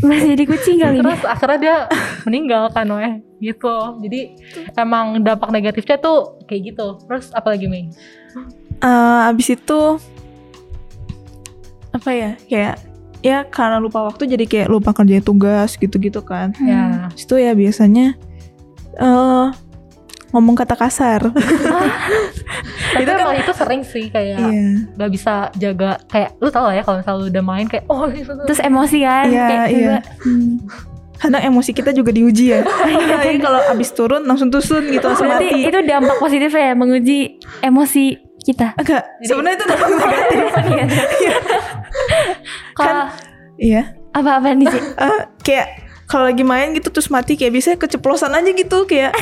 Speaker 2: Masih jadi kucing kali ini.
Speaker 1: terus akhirnya dia meninggal kan weh gitu jadi emang dampak negatifnya tuh kayak gitu terus apalagi Mei
Speaker 4: Eh, abis itu apa ya? Kayak ya karena lupa waktu jadi kayak lupa kerja tugas gitu-gitu kan.
Speaker 2: Hmm.
Speaker 1: ya
Speaker 4: Abis itu ya biasanya eh ngomong kata kasar.
Speaker 1: tapi
Speaker 4: Itu kan-
Speaker 1: emang itu sering sih kayak
Speaker 4: Iya.
Speaker 1: nggak bisa jaga kayak lu tau lah ya kalau misalnya lu udah main kayak oh itu tuh.
Speaker 2: Terus emosi kan?
Speaker 4: Iya,
Speaker 2: kayak
Speaker 4: iya.
Speaker 2: juga, hmm.
Speaker 4: Kadang emosi kita juga diuji ya. Jadi kalau abis turun langsung tusun gitu langsung
Speaker 2: Berarti
Speaker 4: mati.
Speaker 2: itu dampak positif ya menguji emosi kita.
Speaker 4: Enggak,
Speaker 1: Jadi-
Speaker 4: sebenarnya itu dampak negatif.
Speaker 2: Kalau
Speaker 4: Iya.
Speaker 2: apa-apa nih Ci?
Speaker 4: Eh, kayak kalau lagi main gitu terus mati kayak biasanya keceplosan aja gitu kayak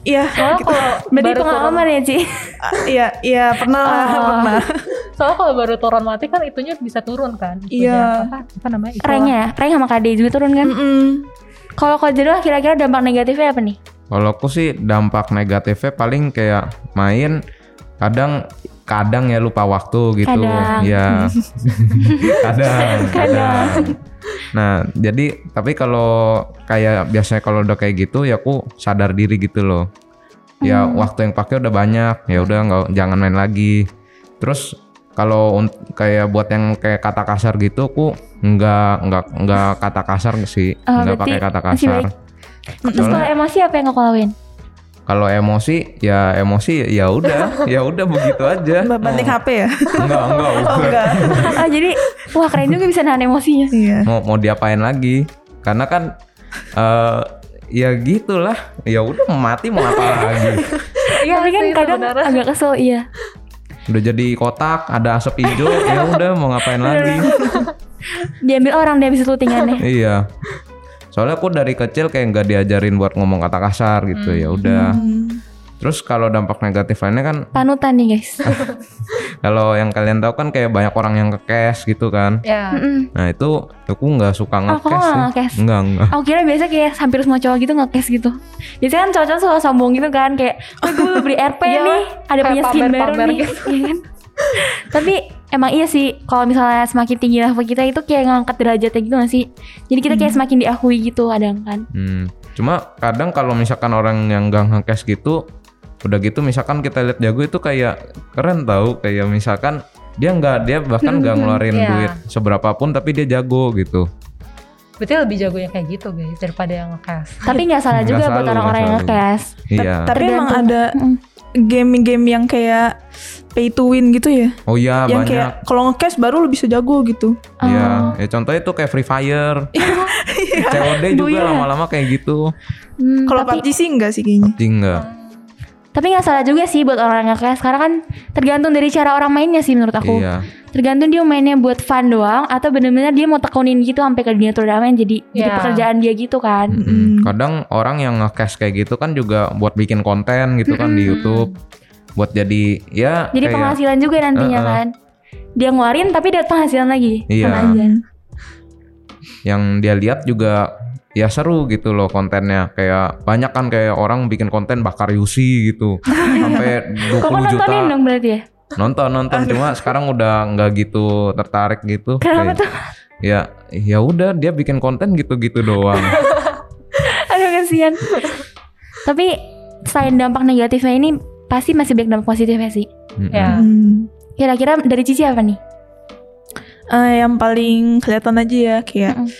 Speaker 4: Iya,
Speaker 1: soalnya
Speaker 4: gitu.
Speaker 1: kalau
Speaker 2: Berarti
Speaker 1: baru turun
Speaker 2: pengalaman ya Ci?
Speaker 4: Ah, Iya, iya pernah lah,
Speaker 2: Oh.
Speaker 4: pernah.
Speaker 1: soalnya kalau baru turun mati kan itunya bisa turun kan itunya,
Speaker 4: Iya.
Speaker 1: apa, apa namanya Itulah.
Speaker 2: Rank ya? Rank sama KD juga turun kan?
Speaker 4: Mm-mm.
Speaker 2: Kalau kau jenuh kira-kira dampak negatifnya apa nih?
Speaker 3: Kalau aku sih dampak negatifnya paling kayak main kadang kadang ya lupa waktu gitu.
Speaker 2: Kadang.
Speaker 3: Ya. kadang,
Speaker 2: Kadang.
Speaker 3: Nah, jadi tapi kalau kayak biasanya kalau udah kayak gitu ya aku sadar diri gitu loh. Ya
Speaker 2: Hmm.
Speaker 3: waktu yang pakai udah banyak, ya udah nggak jangan main lagi. Terus kalau un- kayak buat yang kayak kata kasar gitu aku nggak nggak nggak kata kasar sih,
Speaker 2: Oh,
Speaker 3: nggak
Speaker 2: berarti
Speaker 3: pakai kata
Speaker 2: masih
Speaker 3: kasar.
Speaker 2: baik. Terus
Speaker 3: Soalnya-
Speaker 2: kalau emosi apa yang kau lakuin?
Speaker 3: Kalau emosi ya emosi ya udah, ya udah begitu aja. Nah.
Speaker 4: Mbak banting HP ya?
Speaker 3: Enggak, Ah. enggak,
Speaker 4: Oh
Speaker 3: bukan.
Speaker 4: enggak.
Speaker 2: ah jadi wah keren juga bisa nahan emosinya
Speaker 4: Iya.
Speaker 3: Mau mau diapain lagi? Karena kan eh ya gitulah. Ya udah mati mau apa lagi.
Speaker 2: Iya, tapi kan
Speaker 1: Pasti itu
Speaker 2: kadang
Speaker 1: beneran.
Speaker 2: agak kesel, iya.
Speaker 3: Udah jadi kotak, ada asap hijau, ya udah mau
Speaker 4: Iya,
Speaker 3: ngapain lagi.
Speaker 2: Diambil orang dia habis itu tingannya.
Speaker 3: iya. Soalnya aku dari kecil kayak nggak diajarin buat ngomong kata kasar gitu. Ya udah.
Speaker 4: Hmm.
Speaker 3: Terus kalau dampak negatif lainnya kan
Speaker 2: Panutan nih, guys.
Speaker 1: Ah.
Speaker 3: kalau yang kalian tahu kan kayak banyak orang yang kekes gitu kan.
Speaker 1: ya
Speaker 2: Mm-mm.
Speaker 3: Nah itu aku nggak
Speaker 2: Oh,
Speaker 3: suka
Speaker 2: kamu
Speaker 3: ngekes
Speaker 2: nggak
Speaker 3: sih.
Speaker 2: ngekes?
Speaker 3: Enggak enggak.
Speaker 2: Aku kira biasa kayak hampir semua cowok gitu ngekes gitu. Biasanya kan cowok-cowok suka sombong gitu kan kayak, "Wah, gue beli RP
Speaker 1: Iya,
Speaker 2: nih, ada
Speaker 1: kayak
Speaker 2: punya skin baru
Speaker 1: pamer-pamer gitu.
Speaker 2: nih." Iya kan? Tapi emang iya sih, kalau misalnya semakin tinggi level kita itu kayak ngangkat derajatnya gitu gak sih? Jadi kita
Speaker 1: Hmm.
Speaker 2: kayak semakin diakui gitu kadang kan.
Speaker 3: Hmm. Cuma kadang kalau misalkan orang yang nggak ngekes gitu, udah gitu misalkan kita lihat jago itu kayak keren tahu kayak misalkan dia nggak dia
Speaker 2: Hmm,
Speaker 3: bahkan nggak ngeluarin
Speaker 1: Iya.
Speaker 3: duit seberapapun tapi dia jago gitu.
Speaker 1: berarti lebih jagonya kayak gitu guys daripada yang ngekas
Speaker 2: Tapi nggak salah
Speaker 3: Nggak
Speaker 2: juga buat
Speaker 3: selalu,
Speaker 2: orang-orang yang
Speaker 3: nggak selalu.
Speaker 2: ngekes.
Speaker 4: Ta-
Speaker 3: Iya.
Speaker 4: Tapi emang
Speaker 2: Tergantung.
Speaker 4: ada
Speaker 2: Mm.
Speaker 4: game-game yang kayak pay to win gitu ya?
Speaker 3: Oh iya
Speaker 4: yang
Speaker 3: banyak.
Speaker 4: kayak kalau nge-cash baru lu bisa jago gitu.
Speaker 3: Iya.
Speaker 2: Oh. Iya.
Speaker 3: Ya contohnya itu kayak Free Fire. COD juga
Speaker 2: Buyar.
Speaker 3: lama-lama kayak gitu.
Speaker 2: Hmm,
Speaker 4: Kalau
Speaker 2: tapi-
Speaker 4: PUBG sih enggak sih kayaknya.
Speaker 3: Tapi enggak.
Speaker 2: Tapi nggak salah juga sih buat orang yang kayak sekarang kan tergantung dari cara orang mainnya sih menurut aku.
Speaker 3: Iya.
Speaker 2: Tergantung dia mainnya buat fun doang atau bener-bener dia mau tekunin gitu sampai ke dunia turnamen jadi jadi
Speaker 1: Iya.
Speaker 2: pekerjaan dia gitu kan.
Speaker 3: Mm-mm.
Speaker 4: Mm.
Speaker 3: Hmm, Kadang orang yang nge-cash kayak gitu kan juga buat bikin konten gitu kan di
Speaker 2: Mm-mm.
Speaker 3: YouTube, buat jadi ya
Speaker 2: Jadi
Speaker 3: kayak-
Speaker 2: penghasilan juga nantinya
Speaker 3: Uh-uh.
Speaker 2: kan. Dia ngeluarin tapi dapat penghasilan lagi.
Speaker 3: Iya.
Speaker 2: Sama aja.
Speaker 3: yang dia lihat juga ya seru gitu loh kontennya kayak banyak kan kayak orang bikin konten bakar Yusi gitu sampai
Speaker 2: Kok
Speaker 3: 20 juta
Speaker 2: nontonin dong berarti ya?
Speaker 3: nonton nonton cuma sekarang udah nggak gitu tertarik gitu
Speaker 2: Kenapa
Speaker 3: Kayak,
Speaker 2: tuh?
Speaker 3: ya ya udah dia bikin konten gitu-gitu doang
Speaker 2: Aduh kasihan. tapi selain dampak negatifnya ini pasti masih banyak dampak positifnya sih.
Speaker 3: Mm-mm.
Speaker 1: Ya.
Speaker 4: Hmm.
Speaker 2: Kira-kira dari Cici apa nih?
Speaker 4: Eh, yang paling kelihatan aja ya kayak
Speaker 2: Mm-mm.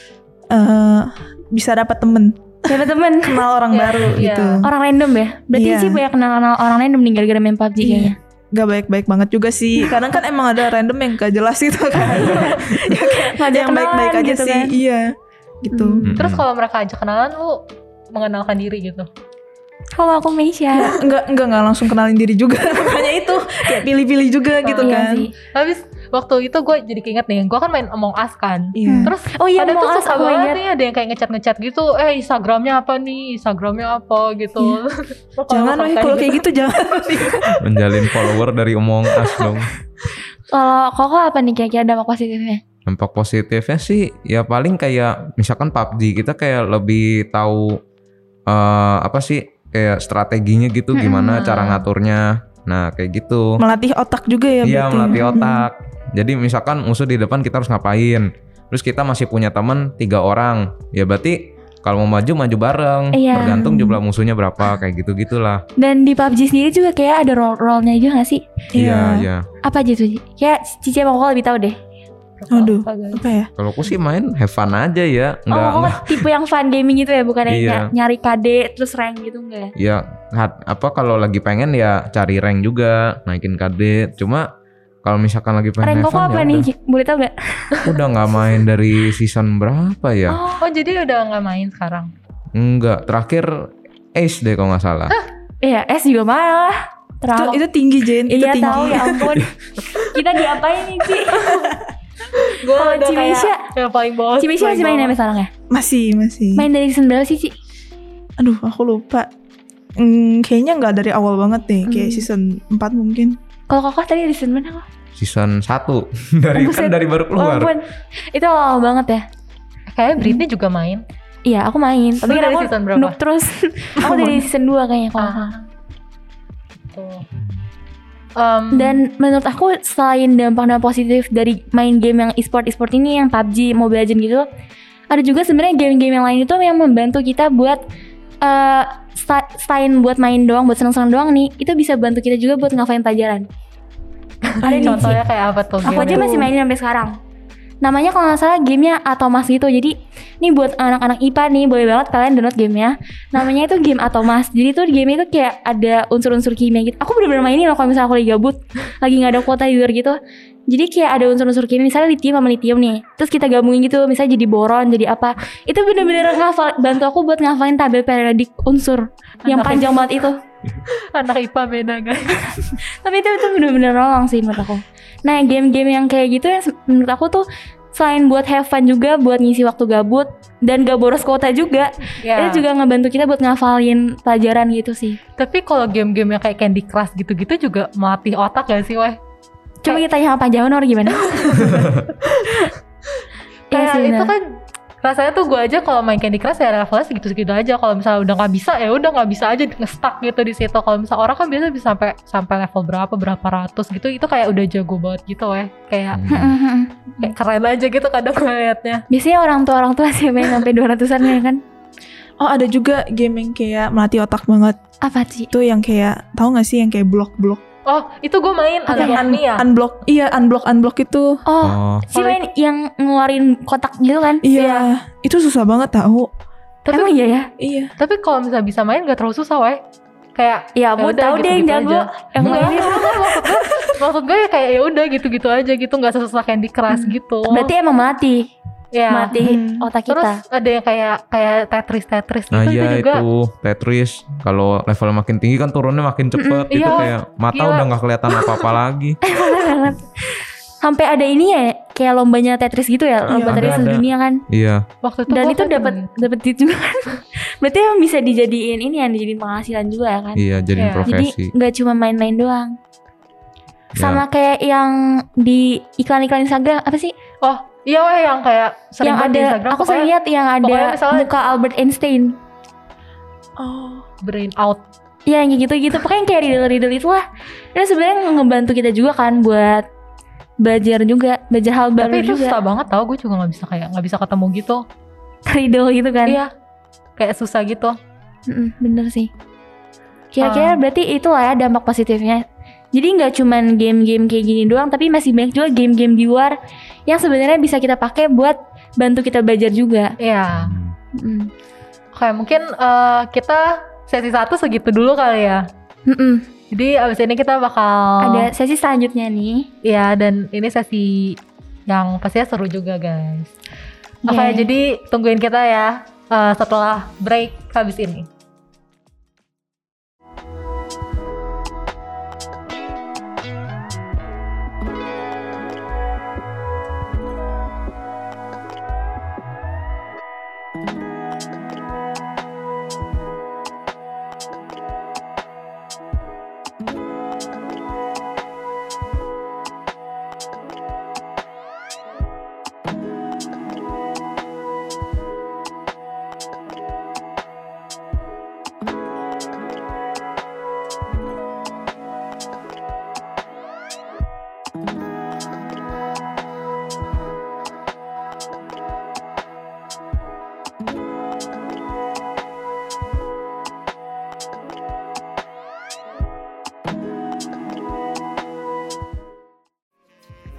Speaker 4: eh, bisa dapat temen,
Speaker 2: Siapa temen?
Speaker 4: kenal orang
Speaker 1: Iya,
Speaker 4: baru
Speaker 1: iya.
Speaker 4: gitu.
Speaker 2: Orang random ya? Berarti
Speaker 4: Iya.
Speaker 2: sih banyak kenal-kenal orang random nih gara-gara main PUBG
Speaker 4: Iya.
Speaker 2: kayaknya
Speaker 4: Gak baik-baik banget juga sih. Kadang kan emang ada random yang gak jelas gitu kan. Ya kayak
Speaker 2: Ngajak
Speaker 4: yang baik-baik
Speaker 2: kenalan
Speaker 4: aja
Speaker 2: gitu
Speaker 4: sih.
Speaker 2: kan.
Speaker 4: Iya. Gitu.
Speaker 3: Mm-mm.
Speaker 1: Hmm. terus kalau mereka ajak kenalan lu mengenalkan diri gitu
Speaker 2: Halo aku Meisha
Speaker 4: Enggak enggak enggak langsung kenalin diri juga. Makanya itu kayak pilih-pilih juga gitu
Speaker 2: Iya
Speaker 4: kan.
Speaker 2: sih.
Speaker 1: habis waktu itu gue jadi keinget nih gue kan main Among Us kan
Speaker 4: Iya.
Speaker 1: terus
Speaker 2: Oh iya
Speaker 1: ada
Speaker 2: mau
Speaker 1: tuh
Speaker 2: as
Speaker 1: suka
Speaker 2: aku
Speaker 1: banget
Speaker 2: ingat
Speaker 1: nih ada yang kayak ngechat ngechat gitu eh Instagramnya apa nih Instagramnya apa
Speaker 2: Iya.
Speaker 1: gitu Lu kalau
Speaker 2: ya
Speaker 4: Jangan weh
Speaker 1: nonton
Speaker 4: kalau kayak gitu jangan.
Speaker 3: menjalin follower dari omong as dong
Speaker 2: Kalau Koko apa nih kira-kira dampak positifnya?
Speaker 3: dampak positifnya sih ya paling kayak misalkan PUBG kita kayak lebih tahu eh, apa sih kayak strateginya gitu
Speaker 2: Mm-mm.
Speaker 3: gimana cara ngaturnya nah kayak gitu
Speaker 4: melatih otak juga
Speaker 3: iya
Speaker 4: ya berarti.
Speaker 3: melatih otak jadi misalkan musuh di depan kita harus ngapain terus kita masih punya teman tiga orang ya berarti kalau mau maju maju bareng
Speaker 2: Iya.
Speaker 3: tergantung jumlah musuhnya berapa kayak gitu gitulah
Speaker 2: Dan di PUBG sendiri juga kayak ada role-role-nya juga gak sih?
Speaker 4: Iya.
Speaker 3: iya
Speaker 2: Apa aja tuh? Ci? Kayak Cici sama Koko lebih tahu deh
Speaker 4: Aduh.
Speaker 1: apa, guys?
Speaker 4: Apa ya?
Speaker 3: kalau aku sih main have fun aja ya
Speaker 2: Oh
Speaker 3: enggak
Speaker 2: Koko tipe yang fun gaming gitu ya Bukan yang
Speaker 3: Iya.
Speaker 2: ny- nyari KD terus rank gitu enggak ya?
Speaker 3: ya hat- apa kalau lagi pengen ya cari rank juga naikin KD cuma kalau misalkan lagi pengen
Speaker 2: Rank
Speaker 3: have
Speaker 2: Koko
Speaker 3: fun,
Speaker 2: apa
Speaker 3: ya
Speaker 2: nih?
Speaker 3: udah.
Speaker 2: Ci? Boleh tahu gak?
Speaker 3: Aku udah nggak main dari season berapa ya
Speaker 2: Oh
Speaker 1: oh jadi udah nggak main sekarang
Speaker 3: enggak terakhir Ace deh kalau nggak salah
Speaker 2: iya S juga malah
Speaker 4: Itu,
Speaker 2: Terawak
Speaker 4: itu tinggi Jen, itu
Speaker 2: Iya
Speaker 4: tinggi.
Speaker 2: tahu ya ampun Kita diapain nih Ci?
Speaker 1: gue
Speaker 2: Kalau Cimeisha?
Speaker 1: yang paling bawah
Speaker 2: Ci Meisha
Speaker 1: paling
Speaker 2: masih main
Speaker 1: bawah.
Speaker 2: sampai sekarang ya?
Speaker 4: Masih, masih.
Speaker 2: Main dari season berapa sih Ci?
Speaker 4: Aduh, aku lupa. Hmm, kayaknya nggak dari awal banget deh, kayak
Speaker 2: Hmm.
Speaker 4: season 4 mungkin.
Speaker 2: Kalau Koko tadi dari season berapa?
Speaker 3: season 1 dari
Speaker 2: Oh,
Speaker 3: kan
Speaker 2: buset.
Speaker 3: dari baru keluar
Speaker 2: Ampun. Itu awal banget ya.
Speaker 1: kayaknya Britney
Speaker 2: Hmm.
Speaker 1: juga main
Speaker 2: Iya, aku main.
Speaker 1: Lu
Speaker 2: kan
Speaker 1: dari
Speaker 2: aku
Speaker 1: season berapa? Ah.
Speaker 2: noob terus. aku dari season 2 kayaknya kalau. nggak salah.
Speaker 1: tuh Gitu. Em,
Speaker 2: Dan menurut aku selain dampak-dampak positif dari main game yang e-sport e-sport ini yang PUBG, Mobile Legends gitu, ada juga sebenarnya game-game yang lain itu yang membantu kita buat eh sta- selain buat main doang, buat seneng-seneng doang nih, itu bisa bantu kita juga buat ngafalin pelajaran. ada nih, Ci.
Speaker 1: contohnya kayak apa tuh
Speaker 2: Aku aja
Speaker 1: gamenya?
Speaker 2: masih mainin sampai sekarang. namanya kalau nggak salah gamenya Atomas gitu jadi ini buat anak-anak IPA nih boleh banget kalian download gamenya namanya itu game Atomas jadi tuh game itu kayak ada unsur-unsur kimia gitu aku bener-bener mainin loh kalau misalnya aku lagi gabut lagi nggak ada kuota di luar gitu jadi kayak ada unsur-unsur kimia misalnya litium sama litium nih terus kita gabungin gitu misalnya jadi boron jadi apa itu bener-bener ngafal bantu aku buat ngafalin tabel periodik unsur yang
Speaker 1: Anak
Speaker 2: panjang banget itu
Speaker 1: anak IPA beda guys
Speaker 2: tapi itu itu bener-bener nolong sih menurut aku nah game-game yang kayak gitu yang se- menurut aku tuh selain buat have fun juga buat ngisi waktu gabut dan gak boros kuota juga
Speaker 1: Ya.
Speaker 2: itu juga ngebantu kita buat ngafalin pelajaran gitu sih
Speaker 1: Iya. tapi kalau game-game yang kayak Candy Crush gitu-gitu juga melatih otak gak sih weh
Speaker 2: coba kita tanya sama Pak Jaunor gimana Iya
Speaker 1: kayak
Speaker 2: sih,
Speaker 1: itu
Speaker 2: bener.
Speaker 1: kan rasanya tuh gue aja kalau main Candy Crush ya levelnya segitu-segitu aja kalau misalnya udah nggak bisa ya udah nggak bisa aja ngestak gitu di situ kalau misalnya orang kan biasa bisa sampai sampai level berapa berapa ratus gitu itu kayak udah jago banget gitu weh kayak
Speaker 3: Hmm.
Speaker 1: kayak keren aja gitu kadang ngeliatnya
Speaker 2: biasanya orang tua orang tua sih main sampai 200-an ya kan
Speaker 4: Oh ada juga game yang kayak melatih otak banget
Speaker 2: apa sih
Speaker 4: Itu yang kayak tahu gak sih yang kayak blok-blok
Speaker 1: oh itu gue main
Speaker 2: Apa
Speaker 1: ada
Speaker 2: ya?
Speaker 1: Mania
Speaker 4: Unblock Iya unblock-unblock itu
Speaker 2: oh
Speaker 3: Oh,
Speaker 2: si main yang ngeluarin kotak gitu kan
Speaker 4: Iya Itu susah banget tahu
Speaker 1: tapi
Speaker 2: emang iya ya
Speaker 4: Iya
Speaker 1: tapi kalau misalnya bisa main gak terlalu susah weh kayak Ya
Speaker 2: ya mau
Speaker 1: udah,
Speaker 2: tahu deh yang
Speaker 1: gitu-gitu
Speaker 2: jago
Speaker 1: aja.
Speaker 2: yang
Speaker 1: Nggak,
Speaker 3: iya?
Speaker 2: mainnya
Speaker 1: maksud gue- maksud gue- maksud gue ya kayak ya udah gitu-gitu aja gitu nggak sesusah Candy Crush gitu
Speaker 2: Hmm. berarti emang melatih
Speaker 1: ya
Speaker 2: melatih
Speaker 4: Hmm.
Speaker 2: otak kita
Speaker 1: Terus ada yang kayak kayak Tetris Tetris gitu
Speaker 3: Nah
Speaker 1: itu
Speaker 3: iya
Speaker 1: juga
Speaker 3: itu Tetris kalau level makin tinggi kan turunnya makin cepet
Speaker 1: Mm-mm,
Speaker 3: gitu
Speaker 1: iya.
Speaker 3: kayak mata
Speaker 1: Gila.
Speaker 3: udah nggak kelihatan apa-apa lagi.
Speaker 2: Parah banget. Sampai ada ini ya, kayak lombanya Tetris gitu ya, lomba
Speaker 4: Iya,
Speaker 2: Tetris
Speaker 3: ada, ada.
Speaker 2: dunia kan.
Speaker 3: Iya.
Speaker 1: waktu itu
Speaker 2: Dan
Speaker 1: gua Iya.
Speaker 2: itu
Speaker 1: kayak
Speaker 2: dapat
Speaker 1: temen-
Speaker 2: dapat duit juga kan. Berarti emang bisa dijadiin ini ya, dijadiin penghasilan juga ya kan.
Speaker 3: Iya jadi
Speaker 1: Iya.
Speaker 3: profesi.
Speaker 2: Jadi nggak cuma main-main doang.
Speaker 3: Ya.
Speaker 2: Sama kayak yang di iklan-iklan Instagram apa sih?
Speaker 1: oh iya weh yang kayak sering
Speaker 2: yang
Speaker 1: banget
Speaker 2: ada
Speaker 1: di Instagram
Speaker 2: aku sering
Speaker 1: pokoknya
Speaker 2: lihat yang
Speaker 1: pokoknya
Speaker 2: ada
Speaker 1: misalnya-
Speaker 2: muka Albert Einstein.
Speaker 4: Oh
Speaker 1: brain out
Speaker 2: Iya yang kayak gitu-gitu pokoknya yang kayak riddle-riddle itulah. Dan sebenarnya ngebantu kita juga kan buat belajar juga, belajar hal baru
Speaker 1: tapi itu
Speaker 2: juga.
Speaker 1: susah banget tau gue juga nggak bisa kayak nggak bisa ketemu gitu
Speaker 2: Riddle gitu kan.
Speaker 1: iya kayak susah gitu
Speaker 2: Mm-mm, bener sih.
Speaker 1: Ah.
Speaker 2: Kira-kira berarti itulah ya dampak positifnya. Jadi nggak cuman game-game kayak gini doang, tapi masih banyak juga game-game di luar yang sebenarnya bisa kita pakai buat bantu kita belajar juga.
Speaker 1: iya
Speaker 2: Mm.
Speaker 3: Hmm.
Speaker 1: kayak mungkin eh, kita sesi satu segitu dulu kali ya
Speaker 2: Mm-mm.
Speaker 1: jadi abis ini kita bakal
Speaker 2: Ada sesi selanjutnya nih.
Speaker 1: Iya dan ini sesi yang pastinya seru juga guys Oke
Speaker 2: Iya.
Speaker 1: jadi tungguin kita ya eh, setelah break habis ini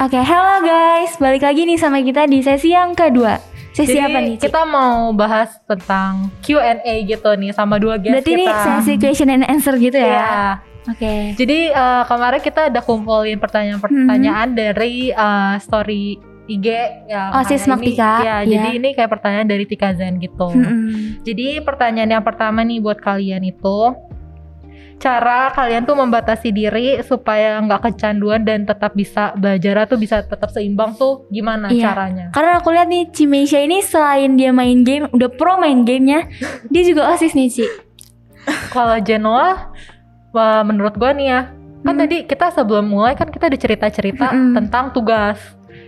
Speaker 2: Oke, hello guys, balik lagi nih sama kita di sesi yang kedua. Sesi
Speaker 1: Jadi
Speaker 2: apa nih? Ci?
Speaker 1: kita mau bahas tentang Q&A gitu nih sama dua guest
Speaker 2: Berarti
Speaker 1: kita.
Speaker 2: ini sesi question and answer gitu
Speaker 1: Iya.
Speaker 2: ya? Oke.
Speaker 1: Jadi eh, kemarin kita udah kumpulin pertanyaan-pertanyaan dari eh, story IG ya.
Speaker 2: Hmm. Oh,
Speaker 1: makanya
Speaker 2: Sis
Speaker 1: ini-
Speaker 2: Maktika,
Speaker 1: Iya,
Speaker 2: iya. Hmm.
Speaker 1: jadi ini kayak pertanyaan dari Tika Zen gitu.
Speaker 2: Mm-mm.
Speaker 1: Jadi pertanyaan yang pertama nih buat kalian itu cara kalian tuh membatasi diri supaya nggak kecanduan dan tetap bisa belajar tuh bisa tetap seimbang tuh gimana
Speaker 2: Iya.
Speaker 1: caranya?
Speaker 2: Karena aku lihat nih Cimeisha ini selain dia main game, udah pro main gamenya, dia juga osis nih Ci.
Speaker 1: Kalau Genoa, wah, menurut gua nih ya, kan
Speaker 2: Hmm.
Speaker 1: tadi kita sebelum mulai kan kita ada cerita-cerita
Speaker 2: Mm-mm.
Speaker 1: tentang tugas.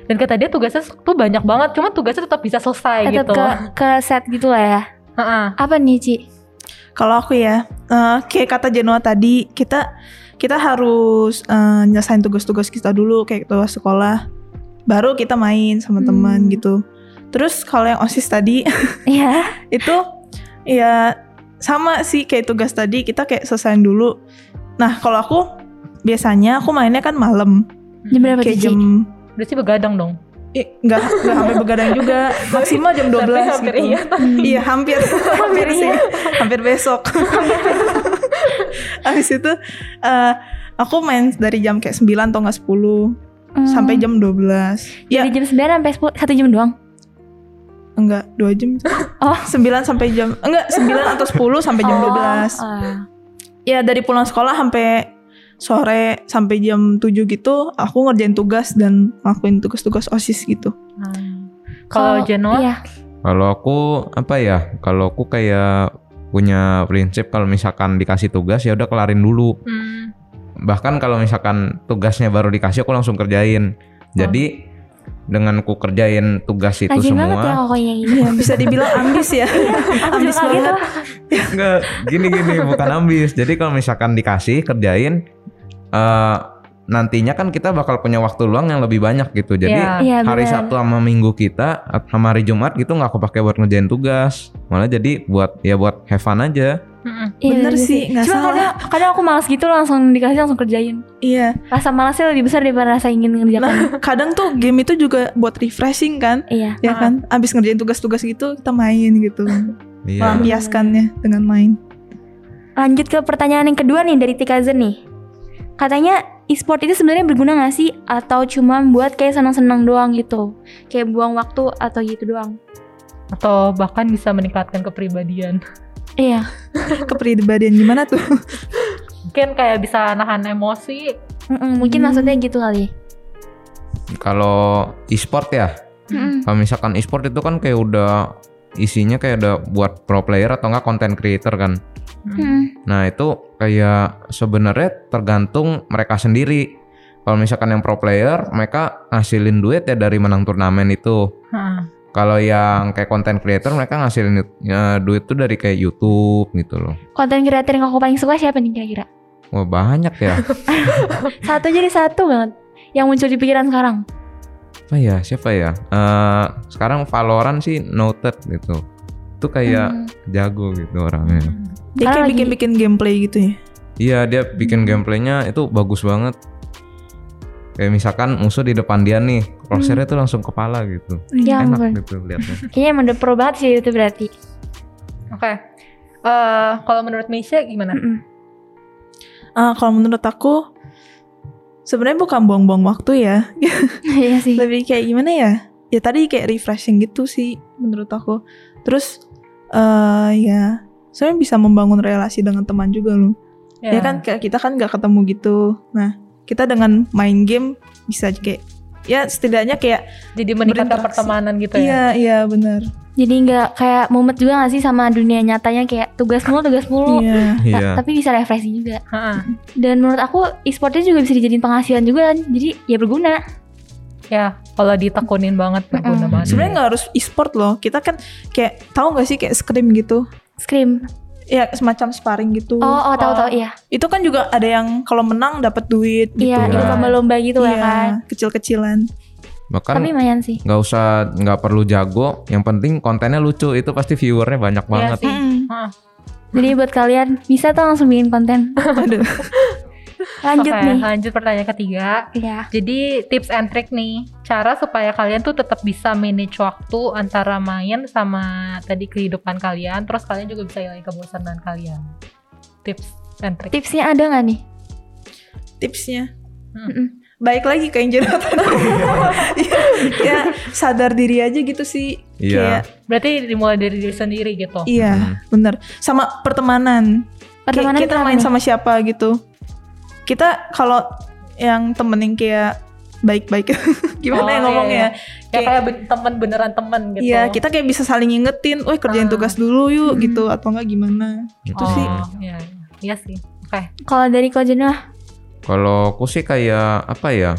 Speaker 1: Dan kata dia tugasnya tuh banyak banget, cuman tugasnya tetap bisa selesai
Speaker 2: Tetap
Speaker 1: gitu.
Speaker 2: ke ke set gitu lah ya.
Speaker 1: Heeh.
Speaker 2: Apa nih Ci?
Speaker 4: Kalau aku ya eh, Kayak kata Genoa tadi Kita kita harus eh, nyelesain tugas-tugas kita dulu Kayak tugas sekolah Baru kita main sama teman
Speaker 2: Hmm.
Speaker 4: gitu Terus kalau yang OSIS tadi
Speaker 2: Iya.
Speaker 4: itu ya sama sih kayak tugas tadi kita kayak selesaiin dulu. Nah kalau aku biasanya aku mainnya kan malam
Speaker 2: Jam berapa tuh
Speaker 4: kayak
Speaker 2: Ci?
Speaker 4: jam
Speaker 1: Udah sih begadang dong.
Speaker 4: Ih, nggak nggak sampai begadang juga maksimal jam 12
Speaker 5: Tapi hampir
Speaker 4: gitu.
Speaker 5: iya,
Speaker 2: Hmm.
Speaker 4: iya hampir hampir sih hampir besok habis itu eh, aku main dari jam kayak 9 atau nggak 10
Speaker 2: Hmm.
Speaker 4: sampai jam 12 ya
Speaker 2: Dari jam 9 sampai 10 1 jam doang.
Speaker 4: enggak 2 jam
Speaker 2: Oh.
Speaker 4: 9 sampai jam enggak 9 atau 10 sampai jam
Speaker 2: Oh,
Speaker 4: 12
Speaker 2: ah.
Speaker 4: ya dari pulang sekolah sampai sore sampai jam 7 gitu aku ngerjain tugas dan ngelakuin tugas-tugas OSIS gitu
Speaker 1: Kalau Genoa?
Speaker 2: Iya.
Speaker 3: Kalau aku apa ya? Kalau aku kayak punya prinsip kalau misalkan dikasih tugas ya udah kelarin dulu.
Speaker 1: Hmm.
Speaker 3: Bahkan kalau misalkan tugasnya baru dikasih aku langsung kerjain. Jadi dengan ku kerjain tugas itu
Speaker 2: Rajin banget ya
Speaker 3: Gitu semua,
Speaker 2: kokonya yang ini.
Speaker 4: ya bisa dibilang ambis ya
Speaker 2: Aku juga
Speaker 4: ambis
Speaker 2: kaget
Speaker 4: banget
Speaker 2: loh.
Speaker 3: enggak gini-gini bukan ambis. Jadi kalau misalkan dikasih kerjain eh, nantinya kan kita bakal punya waktu luang yang lebih banyak gitu. Jadi
Speaker 1: Iya.
Speaker 2: Iya,
Speaker 3: hari
Speaker 2: benar.
Speaker 3: Sabtu sama Minggu kita sama hari Jumat gitu nggak kepake buat ngerjain tugas malah jadi buat ya buat have fun aja
Speaker 1: Mm-mm.
Speaker 2: Iya,
Speaker 4: Bener sih, nggak
Speaker 2: Cuma
Speaker 4: salah.
Speaker 2: Kadang, kadang aku malas gitu langsung dikasih langsung kerjain.
Speaker 4: iya
Speaker 2: Rasa malasnya lebih besar daripada rasa ingin ngerjakan.
Speaker 4: Nah, kadang tuh game itu juga buat refreshing kan,
Speaker 2: iya.
Speaker 4: ya kan? Abis ngerjain tugas-tugas gitu, kita main gitu,
Speaker 3: iya
Speaker 4: melampiaskannya dengan main.
Speaker 2: Lanjut ke pertanyaan yang kedua nih dari Tikazen nih. Katanya e-sport itu sebenarnya berguna nggak sih atau cuma buat kayak senang-senang doang gitu? Kayak buang waktu atau gitu doang.
Speaker 1: Atau bahkan bisa meningkatkan kepribadian.
Speaker 2: Iya.
Speaker 4: Kepribadian gimana tuh?
Speaker 1: Mungkin kayak bisa nahan emosi.
Speaker 2: Mm-mm, mungkin
Speaker 4: Hmm.
Speaker 2: maksudnya gitu kali.
Speaker 3: kalau e-sport ya
Speaker 2: Mm-mm.
Speaker 3: kalau misalkan e-sport itu kan kayak udah isinya kayak ada buat pro player atau enggak content creator kan
Speaker 1: Hmm.
Speaker 2: Mm-mm.
Speaker 3: nah itu kayak sebenarnya tergantung mereka sendiri kalau misalkan yang pro player mereka ngasilin duit ya dari menang turnamen itu
Speaker 1: Nah,
Speaker 3: kalau yang kayak content creator mereka ngasilin eh, duit tuh dari kayak YouTube gitu loh
Speaker 2: Konten kreator yang aku paling suka siapa nih kira-kira?
Speaker 3: wah banyak ya
Speaker 2: Satu jadi satu banget. Yang muncul di pikiran sekarang.
Speaker 3: apa ya siapa ya Eh sekarang Valorant sih noted gitu itu kayak
Speaker 2: Mm.
Speaker 3: jago gitu orangnya
Speaker 1: Hmm,
Speaker 4: Dia
Speaker 2: Karena
Speaker 4: kayak
Speaker 2: lagi-
Speaker 4: bikin-bikin gameplay gitu ya.
Speaker 3: iya dia bikin
Speaker 2: Hmm.
Speaker 3: gameplaynya itu bagus banget kayak misalkan musuh di depan dia nih crosshairnya tuh langsung kepala gitu
Speaker 2: Hmm. Ya
Speaker 3: enak
Speaker 2: ampun.
Speaker 3: gitu liatnya
Speaker 2: Kayaknya emang udah pro banget sih itu berarti.
Speaker 1: Oke. Eh, kalau menurut Meisha gimana?
Speaker 2: Mm-mm.
Speaker 4: Ah, kalau menurut aku, sebenarnya bukan buang-buang waktu ya.
Speaker 2: Iya sih.
Speaker 4: Lebih kayak gimana ya? Ya tadi kayak refreshing gitu sih menurut aku. Terus eh ya, sebenarnya bisa membangun relasi dengan teman juga loh. Ya kan kayak kita kan nggak ketemu gitu. Nah, kita dengan main game bisa kayak ya setidaknya kayak
Speaker 1: Jadi meningkatkan
Speaker 4: Berinteraksi.
Speaker 1: pertemanan gitu ya.
Speaker 4: iya iya benar.
Speaker 2: Jadi nggak kayak mumet juga gak sih sama dunia nyatanya kayak tugas mulu tugas mulu.
Speaker 4: Iya.
Speaker 2: Ta-
Speaker 3: iya
Speaker 2: Tapi bisa refreshing juga.
Speaker 1: Heeh.
Speaker 2: Dan menurut aku e-sportnya juga bisa dijadiin penghasilan juga kan. Jadi ya berguna.
Speaker 1: Ya, kalau ditekunin banget berguna
Speaker 2: Mm-mm.
Speaker 1: banget.
Speaker 4: Sebenarnya nggak harus e-sport loh. Kita kan kayak tahu nggak sih kayak scrim gitu?
Speaker 2: Scream.
Speaker 4: Ya semacam sparring gitu.
Speaker 2: Oh, oh tahu tahu iya.
Speaker 4: Itu kan juga ada yang kalau menang dapat duit gitu.
Speaker 2: Iya,
Speaker 3: kan.
Speaker 2: ikut lomba-lomba gitu ya
Speaker 4: Iya,
Speaker 2: kan.
Speaker 4: kecil-kecilan.
Speaker 3: bahkan
Speaker 2: Tapi lumayan sih.
Speaker 3: nggak usah nggak perlu jago yang penting kontennya lucu itu pasti viewernya
Speaker 2: Iya
Speaker 3: banyak banget
Speaker 1: sih.
Speaker 4: Mm.
Speaker 2: Jadi buat kalian bisa tuh langsung bikin konten.
Speaker 4: Aduh.
Speaker 2: Lanjut
Speaker 1: Oke,
Speaker 2: nih.
Speaker 1: lanjut pertanyaan ketiga.
Speaker 2: Iya.
Speaker 1: Jadi tips and trick nih, cara supaya kalian tuh tetap bisa manage waktu antara main sama tadi kehidupan kalian, terus kalian juga bisa hilangin kebosanan kalian. Tips and trick.
Speaker 2: Tipsnya ada nggak nih?
Speaker 4: Tipsnya
Speaker 2: Mm-mm.
Speaker 4: baik lagi ke yang jerat. Iya, ya, sadar diri aja gitu sih.
Speaker 3: Iya.
Speaker 4: Kayak,
Speaker 1: Berarti dimulai dari diri sendiri gitu.
Speaker 4: iya,
Speaker 3: Hmm.
Speaker 4: bener. Sama pertemanan. Kayak
Speaker 2: Pertemanan
Speaker 4: kita
Speaker 2: kenapa
Speaker 4: main
Speaker 2: nih?
Speaker 4: sama siapa gitu kita kalau yang temen yang kayak baik-baik gimana
Speaker 1: Oh,
Speaker 4: ya
Speaker 1: iya,
Speaker 4: ngomongnya
Speaker 1: Ya
Speaker 4: Kayak-
Speaker 1: kayak ben- temen beneran temen gitu.
Speaker 4: Iya kita kayak bisa saling ngingetin, weh kerjain
Speaker 1: Ah.
Speaker 4: tugas dulu yuk
Speaker 2: Mm.
Speaker 4: gitu atau enggak gimana?
Speaker 1: itu
Speaker 4: Itu sih.
Speaker 3: Hmm.
Speaker 1: Iya, iya sih. Oke.
Speaker 2: Kalau dari Kojena,
Speaker 3: Kalau aku sih kayak apa ya?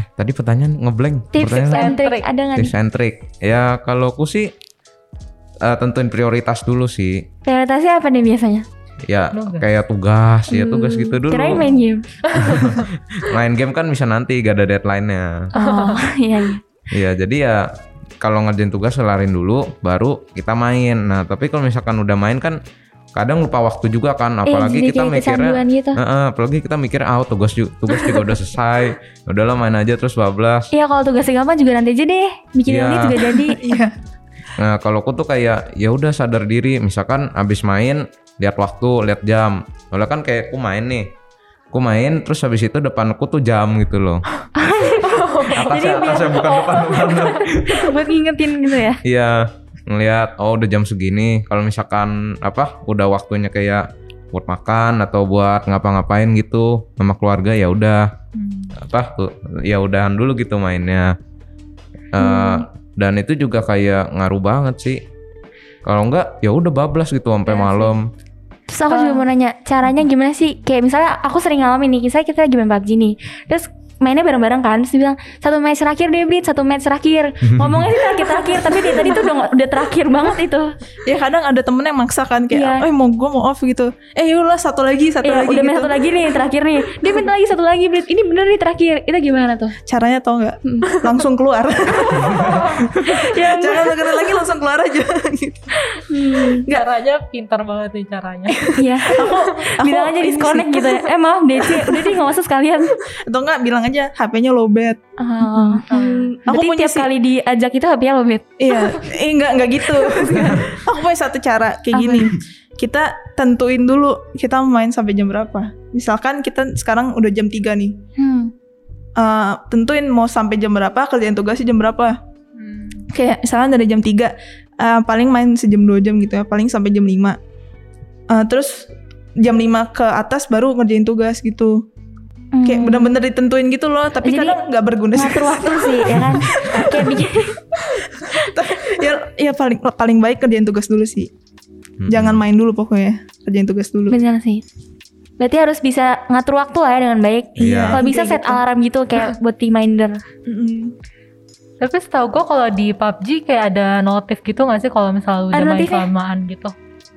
Speaker 3: Eh tadi pertanyaan ngeblank.
Speaker 2: tips
Speaker 3: Pertanyaan apa?
Speaker 2: and
Speaker 1: apa?
Speaker 2: trick ada nggak nih?
Speaker 3: tips and trick. Ya kalau aku sih eh, tentuin prioritas dulu sih.
Speaker 2: Prioritasnya apa nih biasanya?
Speaker 3: Ya
Speaker 1: Lu enggak?
Speaker 3: kayak tugas, ya tugas
Speaker 2: Hmm,
Speaker 3: gitu dulu.
Speaker 2: Kirain main game.
Speaker 3: Main game kan bisa nanti gak ada deadline-nya.
Speaker 2: Oh, iya iya.
Speaker 3: Iya, jadi ya kalau ngerjain tugas kelarin dulu baru kita main. Nah, tapi kalau misalkan udah main kan kadang lupa waktu juga kan
Speaker 2: Eh,
Speaker 3: apalagi
Speaker 2: jadi
Speaker 3: kita
Speaker 2: kayak
Speaker 3: mikirnya
Speaker 2: kecanduan gitu.
Speaker 3: Heeh, apalagi kita mikir ah tugas juga, tugas juga udah selesai udahlah main aja terus bablas
Speaker 2: Iya kalau tugas gampang juga nanti aja deh bikin
Speaker 3: Iya.
Speaker 2: ini juga jadi.
Speaker 4: Iya.
Speaker 3: nah kalau aku tuh kayak ya udah sadar diri misalkan abis main lihat waktu lihat jam soalnya kan kayak aku main nih aku main terus habis itu depanku tuh jam gitu loh
Speaker 2: Oh,
Speaker 3: atasnya atasnya bukan depan bukan depan.
Speaker 2: buat ngingetin gitu ya.
Speaker 3: Iya, ngelihat oh udah jam segini. Kalau misalkan apa udah waktunya kayak buat makan atau buat ngapa-ngapain gitu sama keluarga ya udah
Speaker 2: Hmm.
Speaker 3: apa ya udahan dulu gitu mainnya. Eh,
Speaker 2: Hmm.
Speaker 3: dan itu juga kayak ngaruh banget sih. Kalau enggak ya udah bablas gitu
Speaker 2: Iya
Speaker 3: sampai
Speaker 2: sih.
Speaker 3: malam.
Speaker 2: Terus aku juga mau nanya caranya gimana sih? Kayak misalnya aku sering ngalamin nih, misalnya kita lagi main PUBG nih. Terus mainnya bareng-bareng kan terus dia bilang satu match terakhir deh Brit satu match terakhir ngomongnya sih terakhir terakhir tapi dia tadi tuh udah udah terakhir banget itu
Speaker 4: Ya kadang ada temen yang maksa kan kayak,
Speaker 2: Iya.
Speaker 4: eh mau gue mau off gitu. Eh yaudah satu lagi, satu
Speaker 2: Iya,
Speaker 4: lagi
Speaker 2: udah main
Speaker 4: gitu.
Speaker 2: satu lagi nih terakhir nih dia minta lagi satu lagi Brit ini bener nih terakhir itu gimana tuh
Speaker 4: Caranya tau nggak? Langsung keluar.
Speaker 2: Hmm. ya
Speaker 4: Jangan dengerin lagi langsung keluar aja. gitu.
Speaker 1: Caranya pintar banget nih caranya.
Speaker 2: Iya. bilang aja
Speaker 4: ini
Speaker 2: disconnect gitu ya. Eh maaf DC, udah deh nggak usah sekalian.
Speaker 4: Atau nggak bilang aja HP-nya lowbat.
Speaker 2: Oh.
Speaker 1: Nah,
Speaker 2: Hmm.
Speaker 4: Ah. Aku
Speaker 2: Berarti
Speaker 4: punya
Speaker 2: tiap
Speaker 4: sih-
Speaker 2: kali diajak itu HP lo bet.
Speaker 4: Iya, eh, nggak nggak gitu. Aku punya satu cara kayak gini. Kita tentuin dulu kita mau main sampai jam berapa. Misalkan kita sekarang udah jam 3 nih.
Speaker 2: Hmm.
Speaker 4: Eh, tentuin mau sampai jam berapa, kerjaan tugasnya jam berapa.
Speaker 1: Hmm.
Speaker 4: Kayak misalkan dari jam 3 eh, paling main sejam dua jam gitu ya, paling sampai jam 5. Eh, terus jam 5 ke atas baru ngerjain tugas gitu.
Speaker 2: Hmm.
Speaker 4: Kayak bener-bener ditentuin gitu loh, tapi
Speaker 2: Jadi,
Speaker 4: kadang nggak berguna sih.
Speaker 2: ngatur waktu sih ya kan. Kayak bikin
Speaker 4: ya, ya paling paling baik kerjain tugas dulu sih.
Speaker 3: Mm-mm.
Speaker 4: Jangan main dulu pokoknya, kerjain tugas dulu.
Speaker 2: bener sih. Berarti harus bisa ngatur waktu lah ya dengan baik.
Speaker 3: Iya.
Speaker 2: Kalau bisa set
Speaker 4: Kayak gitu.
Speaker 2: alarm gitu kayak buat reminder.
Speaker 4: Mm-mm.
Speaker 1: Tapi setahu gue kalau di PUBG kayak ada notif gitu nggak sih kalau misalnya udah
Speaker 2: Ada
Speaker 1: main
Speaker 2: notifnya?
Speaker 1: kelamaan gitu?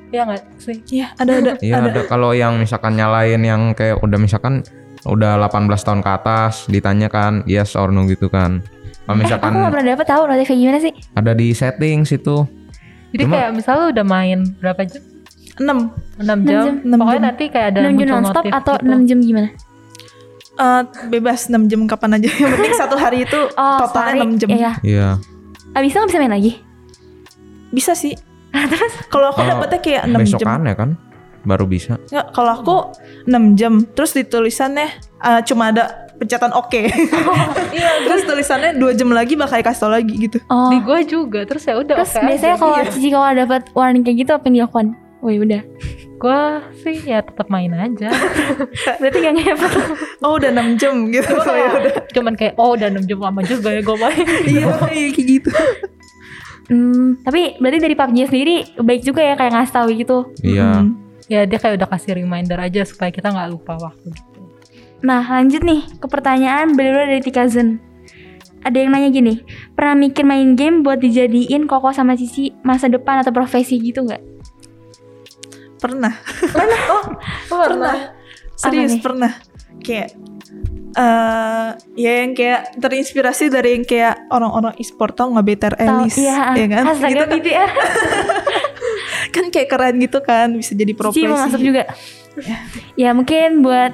Speaker 1: Iya nggak sih?
Speaker 4: Iya, ada ada.
Speaker 3: Iya ada kalau yang misalkan nyalain yang kayak udah misalkan udah 18 tahun ke atas ditanyakan yes or no gitu kan.
Speaker 2: Eh,
Speaker 3: Kalau
Speaker 2: aku
Speaker 3: misalkan
Speaker 2: nggak pernah dapet tahu notifnya gimana sih?
Speaker 3: ada di settings itu
Speaker 1: Jadi
Speaker 3: Cuma-
Speaker 1: kayak misalnya udah main berapa jam?
Speaker 4: 6.
Speaker 1: 6 jam.
Speaker 2: jam,
Speaker 4: enam
Speaker 1: Pokoknya
Speaker 4: jam.
Speaker 1: nanti kayak ada
Speaker 2: 6 jam
Speaker 1: muncul
Speaker 2: nonstop
Speaker 1: notif
Speaker 2: atau
Speaker 1: gitu.
Speaker 2: 6 jam gimana?
Speaker 4: Eh, bebas 6 jam kapan aja. Yang penting satu hari itu
Speaker 2: Oh,
Speaker 4: totalnya
Speaker 2: sehari.
Speaker 4: 6 jam.
Speaker 2: Iya.
Speaker 3: Iya.
Speaker 2: Abisnya nggak bisa main lagi.
Speaker 4: Bisa sih.
Speaker 2: Nah,
Speaker 4: Kalau aku
Speaker 3: Oh,
Speaker 4: dapetnya kayak 6 jam.
Speaker 3: Besokan ya kan baru bisa.
Speaker 4: Nggak, kalau aku 6 jam. Terus ditulisannya eh, cuma ada pencetan oke.
Speaker 2: Oh, iya.
Speaker 4: Terus tulisannya 2 jam lagi bakal kasih tau lagi gitu.
Speaker 2: Oh.
Speaker 1: Di gue juga terus ya udah
Speaker 2: Terus
Speaker 1: oke
Speaker 2: biasanya
Speaker 1: aja.
Speaker 2: kalau Cici kalau dapat warning kayak gitu apa yang dilakukan? Wih udah.
Speaker 1: gue sih ya tetap main aja.
Speaker 2: Berarti gak ngepet.
Speaker 4: Oh, udah 6 jam gitu.
Speaker 1: Gua
Speaker 4: Oh, ya udah.
Speaker 1: kayak- Cuman kayak oh udah 6 jam lama juga ya gue main.
Speaker 4: Iya, iya, kayak gitu.
Speaker 2: Hmm, tapi berarti dari PUBG sendiri baik juga ya kayak ngasih tahu gitu.
Speaker 3: Iya.
Speaker 4: Mm.
Speaker 1: ya dia kayak udah kasih reminder aja supaya kita nggak lupa waktu gitu.
Speaker 2: Nah lanjut nih ke pertanyaan berdua dari Tika Zen. Ada yang nanya gini, pernah mikir main game buat dijadiin koko sama Cici masa depan atau profesi gitu nggak?
Speaker 4: Pernah.
Speaker 2: Oh,
Speaker 4: pernah
Speaker 2: Apa
Speaker 4: serius
Speaker 2: nih?
Speaker 4: pernah kayak eh ya yang kayak terinspirasi dari yang kayak orang-orang e-sport tau nggak better
Speaker 2: Tahu-
Speaker 4: Alice
Speaker 2: iya,
Speaker 4: ya kan
Speaker 2: Astaga
Speaker 4: gitu kan,
Speaker 2: gitu ya.
Speaker 4: kan kayak keren gitu kan bisa jadi pro
Speaker 2: Cici mau
Speaker 4: player
Speaker 2: masuk juga. ya mungkin buat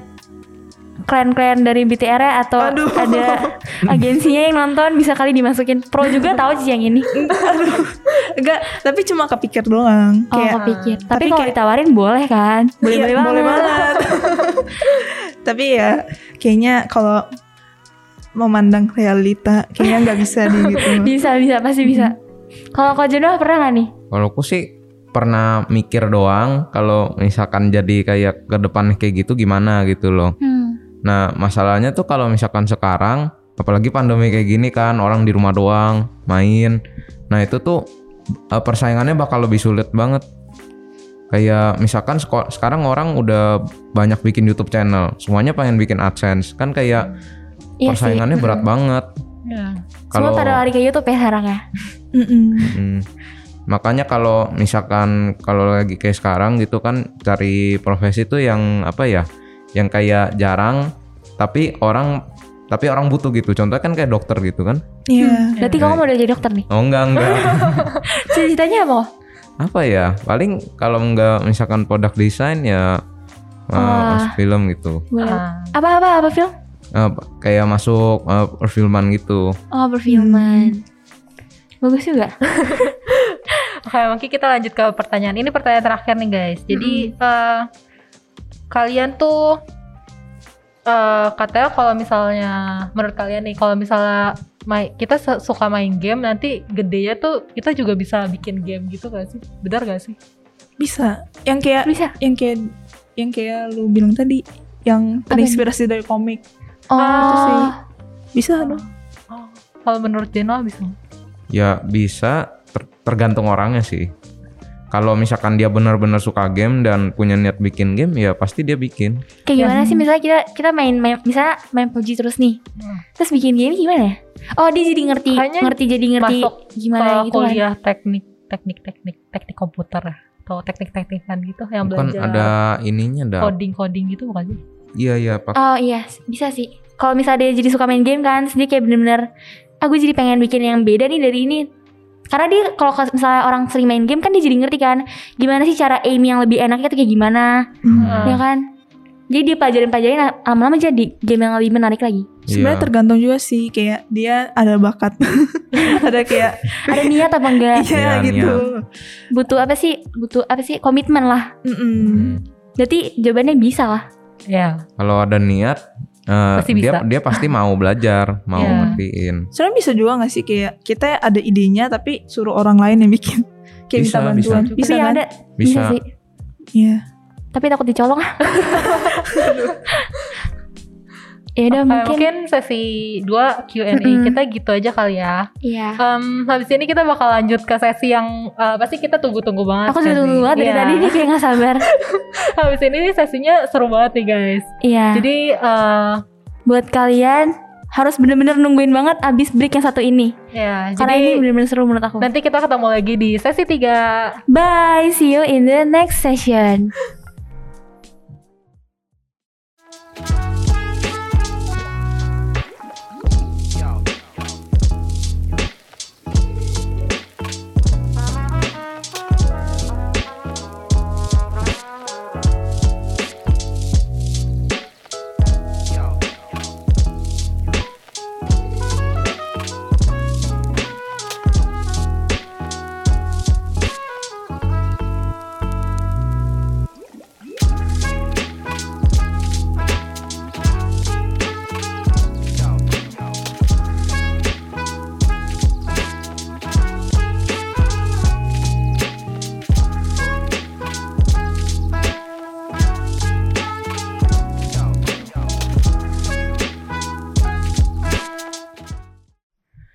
Speaker 2: klien-klien dari BTR ya atau
Speaker 4: Aduh.
Speaker 2: ada agensinya yang nonton bisa kali dimasukin. Pro juga tahu Cici yang ini.
Speaker 4: enggak tapi cuma kepikir doang
Speaker 2: Oh,
Speaker 4: kayak
Speaker 2: kepikir. Tapi,
Speaker 4: tapi
Speaker 2: kalau
Speaker 4: kayak-
Speaker 2: ditawarin boleh kan? Boleh-boleh
Speaker 4: iya,
Speaker 2: banget.
Speaker 4: banget. tapi ya kayaknya kalau memandang realita kayaknya nggak bisa di gitu
Speaker 2: Bisa, bisa, pasti bisa. Kalau kau jodoh pernah gak nih?
Speaker 3: Kalau aku sih pernah mikir doang kalau misalkan jadi kayak ke depan kayak gitu gimana gitu loh.
Speaker 2: Hmm.
Speaker 3: Nah, masalahnya tuh kalau misalkan sekarang apalagi pandemi kayak gini kan orang di rumah doang main. Nah, itu tuh eh, persaingannya bakal lebih sulit banget. Kayak misalkan seko- sekarang orang udah banyak bikin YouTube channel, semuanya pengen bikin AdSense. Kan kayak
Speaker 2: Iya sih.
Speaker 3: persaingannya berat banget.
Speaker 1: Ya.
Speaker 2: Semua pada lari ke YouTube ya sekarang ya.
Speaker 4: Mm-mm.
Speaker 3: Mm. Makanya kalau misalkan kalau lagi kayak sekarang gitu kan cari profesi itu yang apa ya? Yang kayak jarang tapi orang tapi orang butuh gitu. Contohnya kan kayak dokter gitu kan.
Speaker 4: Iya.
Speaker 2: Berarti kamu mau jadi dokter nih.
Speaker 3: Oh enggak enggak.
Speaker 2: Cita-citanya apa?
Speaker 3: apa ya paling kalau nggak misalkan produk desain ya uh,
Speaker 2: Wah.
Speaker 3: masuk film gitu
Speaker 2: Boleh.
Speaker 1: Ah.
Speaker 2: Apa apa apa film?
Speaker 3: Eh, kayak masuk eh, perfilman gitu
Speaker 2: Oh
Speaker 4: Hmm,
Speaker 2: perfilman. Hmm. Bagus juga.
Speaker 1: Oke, mungkin kita lanjut ke pertanyaan. Ini pertanyaan terakhir nih, guys. Jadi eh, kalian tuh eh, katanya kalau misalnya menurut kalian nih kalau misalnya mai- kita se- suka main game nanti gedenya tuh kita juga bisa bikin game gitu gak sih? Benar gak sih?
Speaker 4: bisa yang kayak
Speaker 2: Bisa.
Speaker 4: yang kayak yang kayak lu bilang tadi yang
Speaker 2: Apa ini?
Speaker 4: terinspirasi dari komik Nah,
Speaker 2: Oh.
Speaker 4: itu sih. bisa dong
Speaker 1: Oh, kalau menurut Genoa bisa.
Speaker 3: ya bisa ter- tergantung orangnya sih kalau misalkan dia benar-benar suka game dan punya niat bikin game ya pasti dia bikin
Speaker 2: Kayak gimana
Speaker 1: Yang-
Speaker 2: sih misalnya kita kita main, main misalnya main PUBG terus nih.
Speaker 1: Hmm.
Speaker 2: Terus bikin game gimana ya? Oh, dia jadi ngerti,
Speaker 1: Kayaknya
Speaker 2: ngerti jadi ngerti
Speaker 1: masuk
Speaker 2: gimana
Speaker 1: Kalau
Speaker 2: gitu kan.
Speaker 1: kuliah teknik, teknik, teknik, teknik komputer ya? atau teknik-teknikan gitu yang
Speaker 3: bukan
Speaker 1: belajar
Speaker 3: ada ya. ininya ada
Speaker 1: coding-coding gitu bukan sih?
Speaker 3: iya iya pak
Speaker 2: Oh iya, s- bisa sih. Kalau misalnya dia jadi suka main game kan, terus dia kayak bener-bener ah gue jadi pengen bikin yang beda nih dari ini. Karena dia kalau kas- misalnya orang sering main game kan dia jadi ngerti kan gimana sih cara aim yang lebih enaknya tuh kayak gimana,
Speaker 1: Hmm.
Speaker 2: ya kan? Jadi dia pelajarin-pelajarin ah, lama-lama jadi game yang lebih menarik lagi.
Speaker 4: sebenarnya
Speaker 3: Iya.
Speaker 4: tergantung juga sih kayak dia ada bakat ada kayak
Speaker 2: Ada niat ya? apa enggak?
Speaker 4: iya
Speaker 3: Iya,
Speaker 4: gitu
Speaker 2: Butuh apa sih? Butuh apa sih? Komitmen lah.
Speaker 4: Mm-mm.
Speaker 3: Hmm.
Speaker 2: Berarti jawabannya bisa lah.
Speaker 1: Ya,
Speaker 3: kalau ada niat eh,
Speaker 1: Pasti bisa.
Speaker 3: dia dia pasti mau belajar mau
Speaker 1: Iya.
Speaker 3: ngertiin
Speaker 4: sebenarnya bisa juga gak sih kayak kita ada idenya tapi suruh orang lain yang bikin kayak
Speaker 3: Bisa,
Speaker 4: minta
Speaker 3: bisa.
Speaker 4: bantuan bisa,
Speaker 2: Tapi
Speaker 4: kan
Speaker 2: ada bisa
Speaker 3: bisa
Speaker 2: sih.
Speaker 4: Iya.
Speaker 2: tapi takut dicolong ah. ya
Speaker 1: Oke,
Speaker 2: udah
Speaker 1: mungkin.
Speaker 2: mungkin
Speaker 1: sesi 2 Q&A
Speaker 2: Mm-mm.
Speaker 1: kita gitu aja kali ya.
Speaker 2: iya
Speaker 1: Em, habis ini kita bakal lanjut ke sesi yang eh, pasti kita tunggu-tunggu banget.
Speaker 2: aku sudah
Speaker 1: kan
Speaker 2: tunggu
Speaker 1: nih.
Speaker 2: banget dari
Speaker 1: Iya.
Speaker 2: tadi dia kayak gak sabar
Speaker 1: habis ini nih sesinya seru banget nih guys.
Speaker 2: iya
Speaker 1: Jadi eh,
Speaker 2: buat kalian harus bener-bener nungguin banget abis break yang satu ini
Speaker 1: ya, jadi
Speaker 2: karena ini bener-bener seru menurut aku
Speaker 1: nanti kita ketemu lagi di sesi 3.
Speaker 2: bye see you in the next session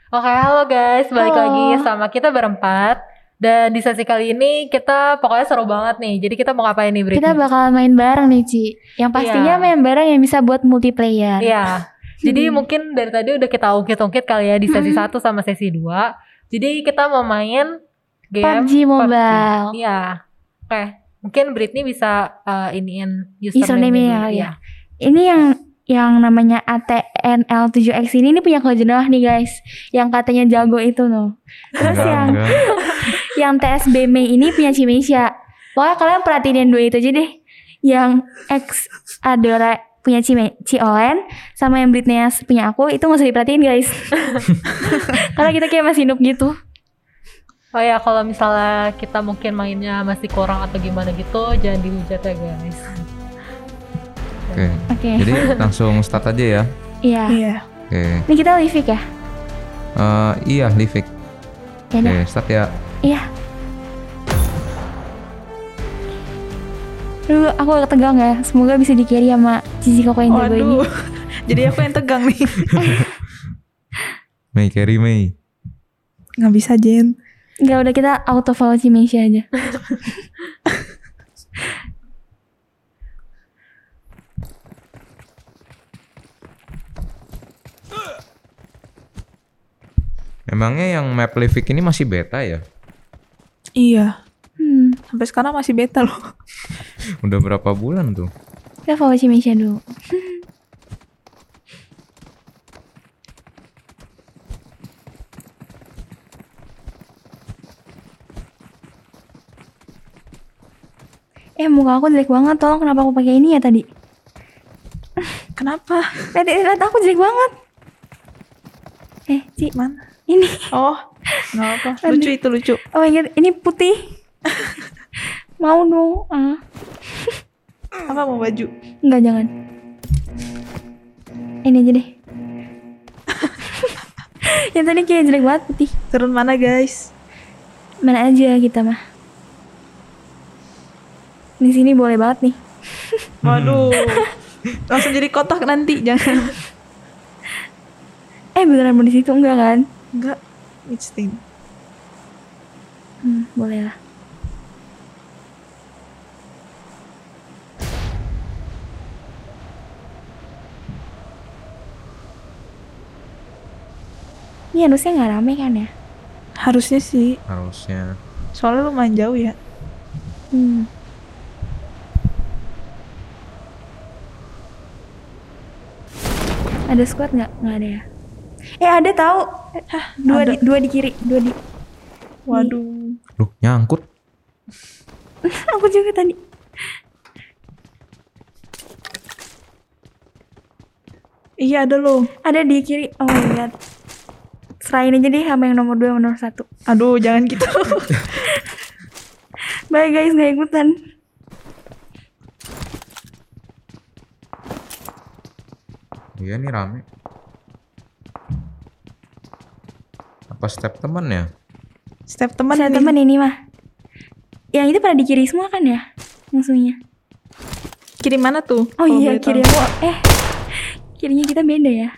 Speaker 1: Oke, halo guys, balik
Speaker 2: Halo.
Speaker 1: lagi sama kita berempat. Dan di sesi kali ini kita pokoknya seru banget nih. Jadi kita mau ngapain nih Britney?
Speaker 2: kita bakal main bareng nih Ci yang pastinya
Speaker 1: Iya.
Speaker 2: main bareng yang bisa buat multiplayer
Speaker 1: Iya.
Speaker 2: Hmm.
Speaker 1: Jadi mungkin dari tadi udah kita ungkit-ungkit kali ya di sesi
Speaker 2: Mm-mm.
Speaker 1: 1 sama sesi 2. Jadi kita mau main game
Speaker 2: PUBG Mobile
Speaker 1: Iya. Oke, mungkin Britney bisa uh, iniin
Speaker 2: Username-nya
Speaker 1: username-nya.
Speaker 2: kali
Speaker 1: dulu,
Speaker 2: ya. ini yang yang namanya ATNL7X ini ini punya Kojenoah nih guys yang katanya jago itu loh terus
Speaker 3: Enggak,
Speaker 2: yang
Speaker 3: enggak.
Speaker 2: yang TSB Mei ini punya Cimesia pokoknya kalian perhatiin yang dua itu aja deh yang X Adora punya Cime Ciolen sama yang Britney punya aku itu nggak usah diperhatiin guys karena kita kayak masih noob gitu
Speaker 1: Oh ya, kalau misalnya kita mungkin mainnya masih kurang atau gimana gitu, jangan dihujat ya guys.
Speaker 3: Oke.
Speaker 2: oke
Speaker 3: jadi langsung start aja ya
Speaker 2: iya
Speaker 4: Iya.
Speaker 3: oke
Speaker 2: ini kita livik ya
Speaker 3: Eh, iya Livik
Speaker 2: ya
Speaker 3: oke
Speaker 2: udah.
Speaker 3: start ya
Speaker 2: iya Aduh, aku agak tegang ya. Semoga bisa di carry sama Cici Koko yang jago ini.
Speaker 4: Waduh. Jadi aku yang tegang nih.
Speaker 3: Mei carry Mei
Speaker 4: Nggak bisa Jen.
Speaker 2: Enggak, udah kita auto follow Cimesia aja.
Speaker 3: Emangnya yang map Livik ini masih beta ya?
Speaker 4: Iya.
Speaker 2: Hmm,
Speaker 4: Sampai sekarang masih beta loh.
Speaker 3: Udah berapa bulan tuh?
Speaker 2: kita follow Cimesia dulu. Eh muka aku jelek banget, tolong kenapa aku pakai ini ya tadi?
Speaker 4: Kenapa?
Speaker 2: Tadi lihat aku jelek banget. Eh, Ci,
Speaker 4: Mana?
Speaker 2: ini.
Speaker 4: Oh, nggak apa. Lucu itu lucu.
Speaker 2: Oh my god, ini putih. Mau dong. Ah.
Speaker 4: Apa mau baju?
Speaker 2: Enggak, jangan. Ini aja deh. Yang tadi kayak jelek banget putih.
Speaker 4: Turun mana guys?
Speaker 2: Mana aja kita mah. Di sini boleh banget nih.
Speaker 4: Waduh. Langsung jadi kotak nanti, jangan.
Speaker 2: Eh beneran mau di situ enggak kan?
Speaker 4: Enggak. It's thing.
Speaker 2: Hmm, boleh lah. Ini harusnya nggak rame kan ya?
Speaker 4: Harusnya sih.
Speaker 3: harusnya
Speaker 4: Soalnya lumayan jauh ya.
Speaker 2: Hmm. Ada squad nggak? Nggak ada ya? Eh ada tahu? Hah, dua
Speaker 4: ada.
Speaker 2: di dua di kiri, dua di.
Speaker 4: Waduh.
Speaker 3: Duh, nyangkut
Speaker 2: Aku juga tadi.
Speaker 4: Iya ada loh.
Speaker 2: Ada di kiri. Oh my god. Serain aja deh sama yang nomor dua sama nomor satu.
Speaker 4: Aduh, jangan gitu.
Speaker 2: Bye guys, nggak ikutan.
Speaker 3: iya nih rame apa step temen ya
Speaker 4: Step teman
Speaker 2: Saya
Speaker 4: nih.
Speaker 2: temen ini mah. Yang itu pada di kiri semua kan ya? Musuhnya.
Speaker 4: Kiri mana tuh?
Speaker 2: Oh
Speaker 4: Kalau
Speaker 2: iya,
Speaker 4: boleh tahu.
Speaker 2: kiri aku. Eh, kirinya kita beda ya.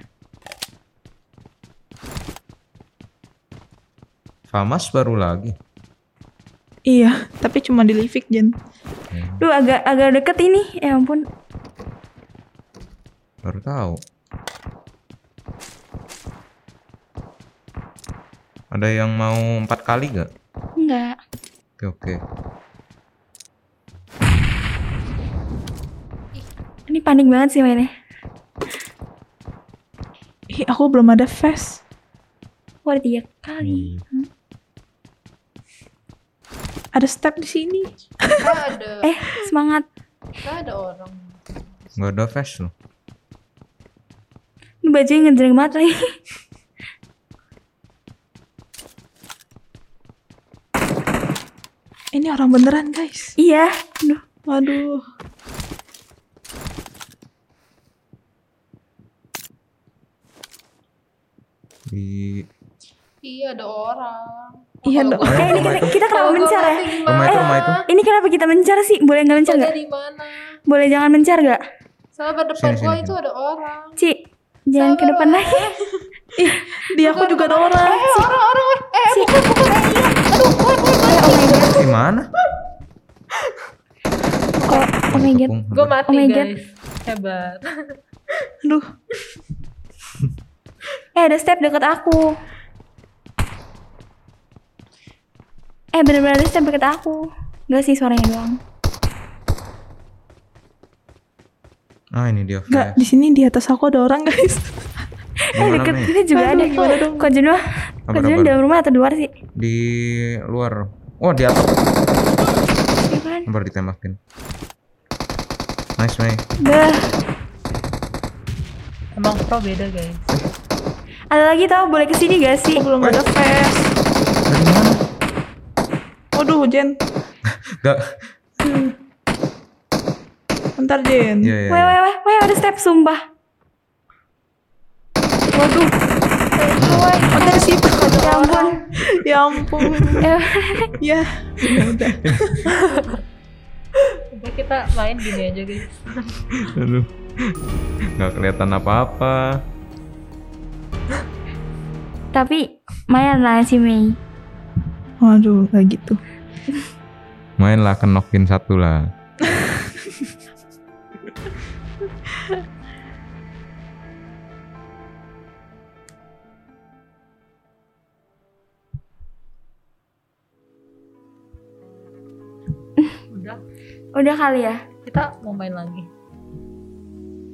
Speaker 3: famas baru lagi
Speaker 4: Iya, tapi cuma di Livik, Jen.
Speaker 3: Hmm,
Speaker 2: Duh, agak agak deket ini. Ya ampun.
Speaker 3: baru tahu ada yang mau empat kali gak
Speaker 2: Enggak.
Speaker 3: oke oke
Speaker 2: Ini panik banget sih mainnya.
Speaker 4: Ih, aku belum ada face.
Speaker 2: Wah, ada tiga kali.
Speaker 4: Ada step di sini.
Speaker 1: Gak ada,
Speaker 2: Eh, semangat.
Speaker 1: gak ada orang.
Speaker 3: nggak ada flash loh
Speaker 2: Ini bajunya ngejreng banget lagi.
Speaker 4: Ini orang beneran, guys.
Speaker 2: iya. Duh.
Speaker 4: Waduh.
Speaker 3: di
Speaker 1: Iya ada orang.
Speaker 4: Iya, ada
Speaker 3: orang.
Speaker 2: Eh, ini kita, kita kenapa mencar ya?
Speaker 3: rumah Oh, itu rumah itu
Speaker 2: Ini kenapa kita mencar sih? Boleh nggak mencar nggak?
Speaker 1: di mana?
Speaker 2: Boleh jangan mencar nggak?
Speaker 1: Salah depan
Speaker 3: Sini,
Speaker 1: gua
Speaker 3: sini,
Speaker 1: itu ada orang.
Speaker 2: Ci, jangan ke
Speaker 1: Sabar,
Speaker 2: depan
Speaker 1: Wak.
Speaker 2: lagi.
Speaker 4: Di aku juga ada orang.
Speaker 1: Eh orang orang orang. Eh
Speaker 2: Ci.
Speaker 1: bukan bukan. Eh, iya. Aduh bukan bukan.
Speaker 2: Oh my god.
Speaker 3: di mana
Speaker 2: Kok, oh my god.
Speaker 3: Tepung,
Speaker 1: Gue
Speaker 3: apa?
Speaker 1: mati
Speaker 2: Oh my God.
Speaker 1: guys. Hebat.
Speaker 4: Aduh,
Speaker 2: Eh, ada step deket aku. Eh, bener-bener ada step deket aku. Gak sih suaranya doang.
Speaker 3: ah ini dia flash
Speaker 4: nggak di sini di atas aku ada orang,
Speaker 2: Eh,
Speaker 4: guys.
Speaker 3: Gimana,
Speaker 2: deket
Speaker 3: Mei?
Speaker 2: kita juga
Speaker 4: Aduh,
Speaker 2: ada.
Speaker 4: gimana dong?
Speaker 2: Kok jenuh?
Speaker 3: Apa
Speaker 2: Kok jenuh
Speaker 3: kabar?
Speaker 2: dalam rumah atau di luar sih?
Speaker 3: di luar oh di atas
Speaker 2: Iya kan?
Speaker 3: baru ditembakin nice Mei
Speaker 2: Bah.
Speaker 1: Emang pro beda guys.
Speaker 2: Ada lagi tau boleh kesini gak sih?
Speaker 4: Aku belum ada face.
Speaker 3: dari mana
Speaker 4: Waduh, Jen.
Speaker 3: Gak,
Speaker 4: Bentar, Jen.
Speaker 3: iya iya.
Speaker 2: Weh weh weh weh ada step sumpah.
Speaker 4: Waduh.
Speaker 2: Weh,
Speaker 4: Ada di situ.
Speaker 2: ya ampun.
Speaker 4: ya ampun.
Speaker 2: Eh,
Speaker 4: ya. ya udah.
Speaker 1: Udah kita main gini aja guys.
Speaker 3: Aduh. Gak kelihatan apa-apa.
Speaker 2: Tapi main lah si Mei.
Speaker 4: Waduh, kayak gitu.
Speaker 3: Main lah kenokin satu lah.
Speaker 1: Udah.
Speaker 2: Udah kali ya.
Speaker 1: Kita mau main lagi.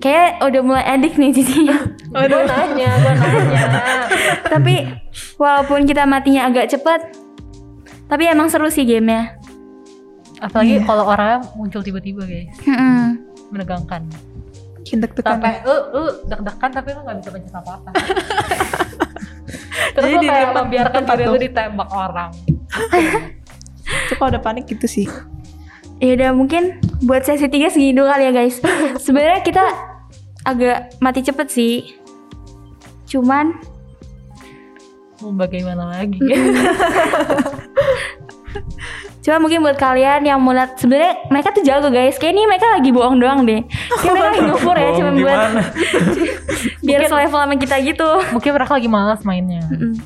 Speaker 2: Kayak udah mulai edik nih sisinya.
Speaker 1: Gue nanya, gue nanya.
Speaker 2: tapi walaupun kita matinya agak cepet, tapi emang seru sih gamenya.
Speaker 1: apalagi
Speaker 4: Iya.
Speaker 1: kalau orangnya muncul tiba-tiba guys
Speaker 2: Mm-mm.
Speaker 1: menegangkan
Speaker 4: Bikin deg-degan.
Speaker 1: sampai lu lu "Eh, deg-degan tapi lu nggak bisa pencet apa-apa terus
Speaker 4: Jadi
Speaker 1: lu kayak
Speaker 4: dilempar
Speaker 1: membiarkan
Speaker 4: tempat
Speaker 1: diri lu
Speaker 4: tuh.
Speaker 1: ditembak orang
Speaker 4: Itu kalau udah panik gitu sih.
Speaker 2: Ya udah mungkin buat sesi 3 segini dulu kali ya guys. Sebenarnya kita agak mati cepet sih. Cuman
Speaker 1: mau bagaimana lagi
Speaker 2: Cuma mungkin buat kalian yang mau lihat sebenarnya mereka tuh jago guys. Kayak ini mereka lagi bohong doang deh. Kayak mereka lagi ngepur ya
Speaker 3: Bohong
Speaker 2: cuma buat
Speaker 3: gimana?
Speaker 2: biar selevel sama kita gitu.
Speaker 1: mungkin mereka lagi malas mainnya
Speaker 2: Mm-mm.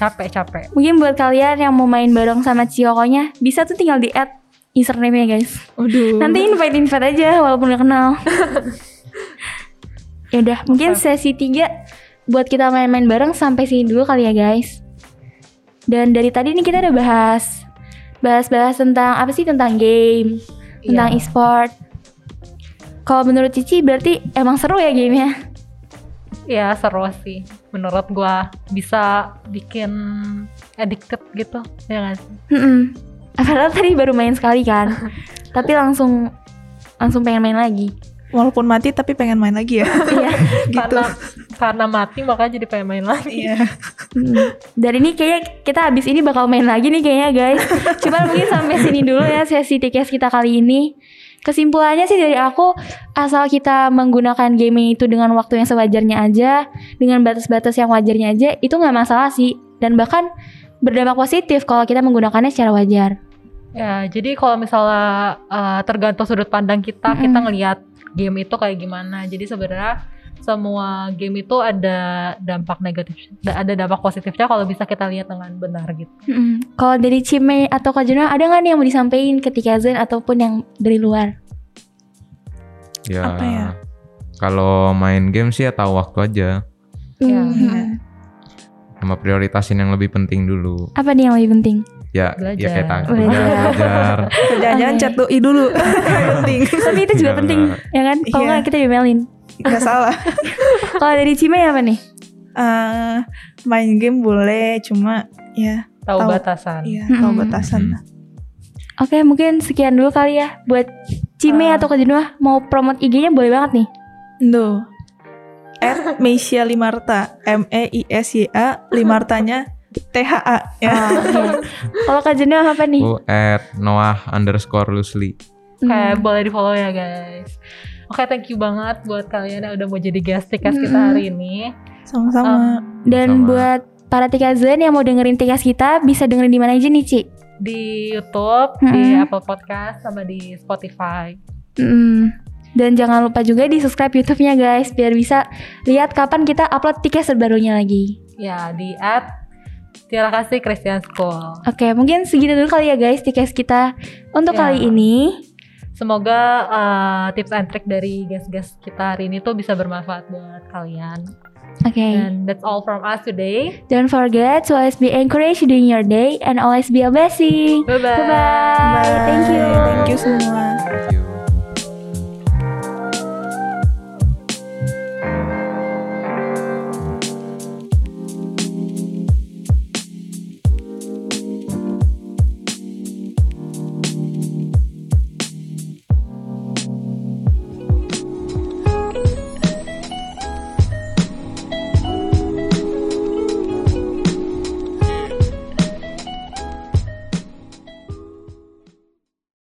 Speaker 1: capek-capek
Speaker 2: Mungkin buat kalian yang mau main bareng sama Ciokonya bisa tuh tinggal di add username-nya guys.
Speaker 4: Waduh.
Speaker 2: Nanti invite invite aja walaupun gak kenal. ya udah, mungkin sesi 3 buat kita main-main bareng sampai sini dulu kali ya guys. Dan dari tadi nih kita udah bahas bahas-bahas tentang apa sih tentang game, tentang
Speaker 1: Iya.
Speaker 2: e-sport. Kalau menurut Cici berarti emang seru ya gamenya?
Speaker 1: ya seru sih menurut gua bisa bikin addicted gitu ya kan
Speaker 2: Mm-mm. Padahal tadi baru main sekali kan, tapi langsung langsung pengen main lagi.
Speaker 4: Walaupun mati tapi pengen main lagi ya.
Speaker 2: Iya.
Speaker 4: gitu.
Speaker 1: karena karena mati makanya jadi pengen main lagi
Speaker 4: Iya.
Speaker 2: Hmm. Dan ini kayaknya kita habis ini bakal main lagi nih kayaknya guys. Cuman mungkin sampai sini dulu ya sesi TKS kita kali ini. Kesimpulannya sih dari aku asal kita menggunakan gaming itu dengan waktu yang sewajarnya aja, dengan batas-batas yang wajarnya aja, itu nggak masalah sih. Dan bahkan berdampak positif kalau kita menggunakannya secara wajar.
Speaker 1: Ya, jadi kalau misalnya uh, tergantung sudut pandang kita,
Speaker 2: Mm-mm.
Speaker 1: kita ngelihat game itu kayak gimana. Jadi sebenarnya semua game itu ada dampak negatif, ada dampak positifnya kalau bisa kita lihat dengan benar gitu.
Speaker 2: Mm-mm. Kalau dari Cime atau Kak Juna, ada nggak nih yang mau disampaikan ke TKZ ataupun yang dari luar?
Speaker 3: ya,
Speaker 4: Apa ya?
Speaker 3: kalau main game sih ya tahu waktu aja
Speaker 1: Ya.
Speaker 2: Mm-mm.
Speaker 3: sama prioritasin yang lebih penting dulu
Speaker 2: Apa nih yang lebih penting?
Speaker 3: ya ya kayak
Speaker 1: Belajar.
Speaker 3: tadi belajar,
Speaker 2: Belajar.
Speaker 3: belajar.
Speaker 4: Atau Jangan-jangan
Speaker 2: Oke.
Speaker 4: chat doi dulu. Penting.
Speaker 2: Tapi itu juga
Speaker 3: Iya.
Speaker 2: penting, ya kan? Kalau
Speaker 4: Iya.
Speaker 2: nggak kita diomelin.
Speaker 4: Gak salah.
Speaker 2: Kalau dari Cime apa nih?
Speaker 4: Eh, main game boleh cuma ya
Speaker 1: Tahu
Speaker 4: Tahu.
Speaker 1: batasan.
Speaker 4: iya tahu
Speaker 2: Mm-mm.
Speaker 4: batasan.
Speaker 2: Oke, mungkin sekian dulu kali ya buat Cime
Speaker 1: Ah.
Speaker 2: atau Kak Jenuah mau promote IG-nya boleh banget nih.
Speaker 4: Duh. R Meisya Limarta M E I S Y A Limartanya T H A ya.
Speaker 2: Ah, iya. Kalau Kak Jenuah apa nih?
Speaker 3: aku at noah underscore Lusli
Speaker 1: Kayak
Speaker 2: Hmm.
Speaker 1: boleh di follow ya guys. Oke, thank you banget buat kalian yang udah mau jadi guest tiket kita
Speaker 2: Mm-mm.
Speaker 1: hari ini.
Speaker 4: Sama-sama.
Speaker 1: Um,
Speaker 2: Dan
Speaker 3: Sama.
Speaker 2: buat para Tikazen yang mau dengerin Tikas kita bisa dengerin di mana aja nih, Ci?
Speaker 1: di YouTube, di
Speaker 2: Mm-mm.
Speaker 1: Apple Podcast, sama di Spotify.
Speaker 2: Mm. Dan jangan lupa juga di subscribe YouTube-nya guys biar bisa lihat kapan kita upload tiket terbarunya lagi.
Speaker 1: Ya, di at Terima kasih Christian School.
Speaker 2: Oke, mungkin segitu dulu kali ya guys tiket kita untuk
Speaker 1: Ya.
Speaker 2: kali ini.
Speaker 1: Semoga uh, tips and trick dari guest-guest kita hari ini tuh bisa bermanfaat buat kalian.
Speaker 2: Oke.
Speaker 1: And that's all from us today.
Speaker 2: Don't forget to always be encouraged during your day and always be a blessing.
Speaker 1: Bye-bye.
Speaker 2: Bye-bye. Thank you.
Speaker 4: Thank you semua.
Speaker 3: Thank you.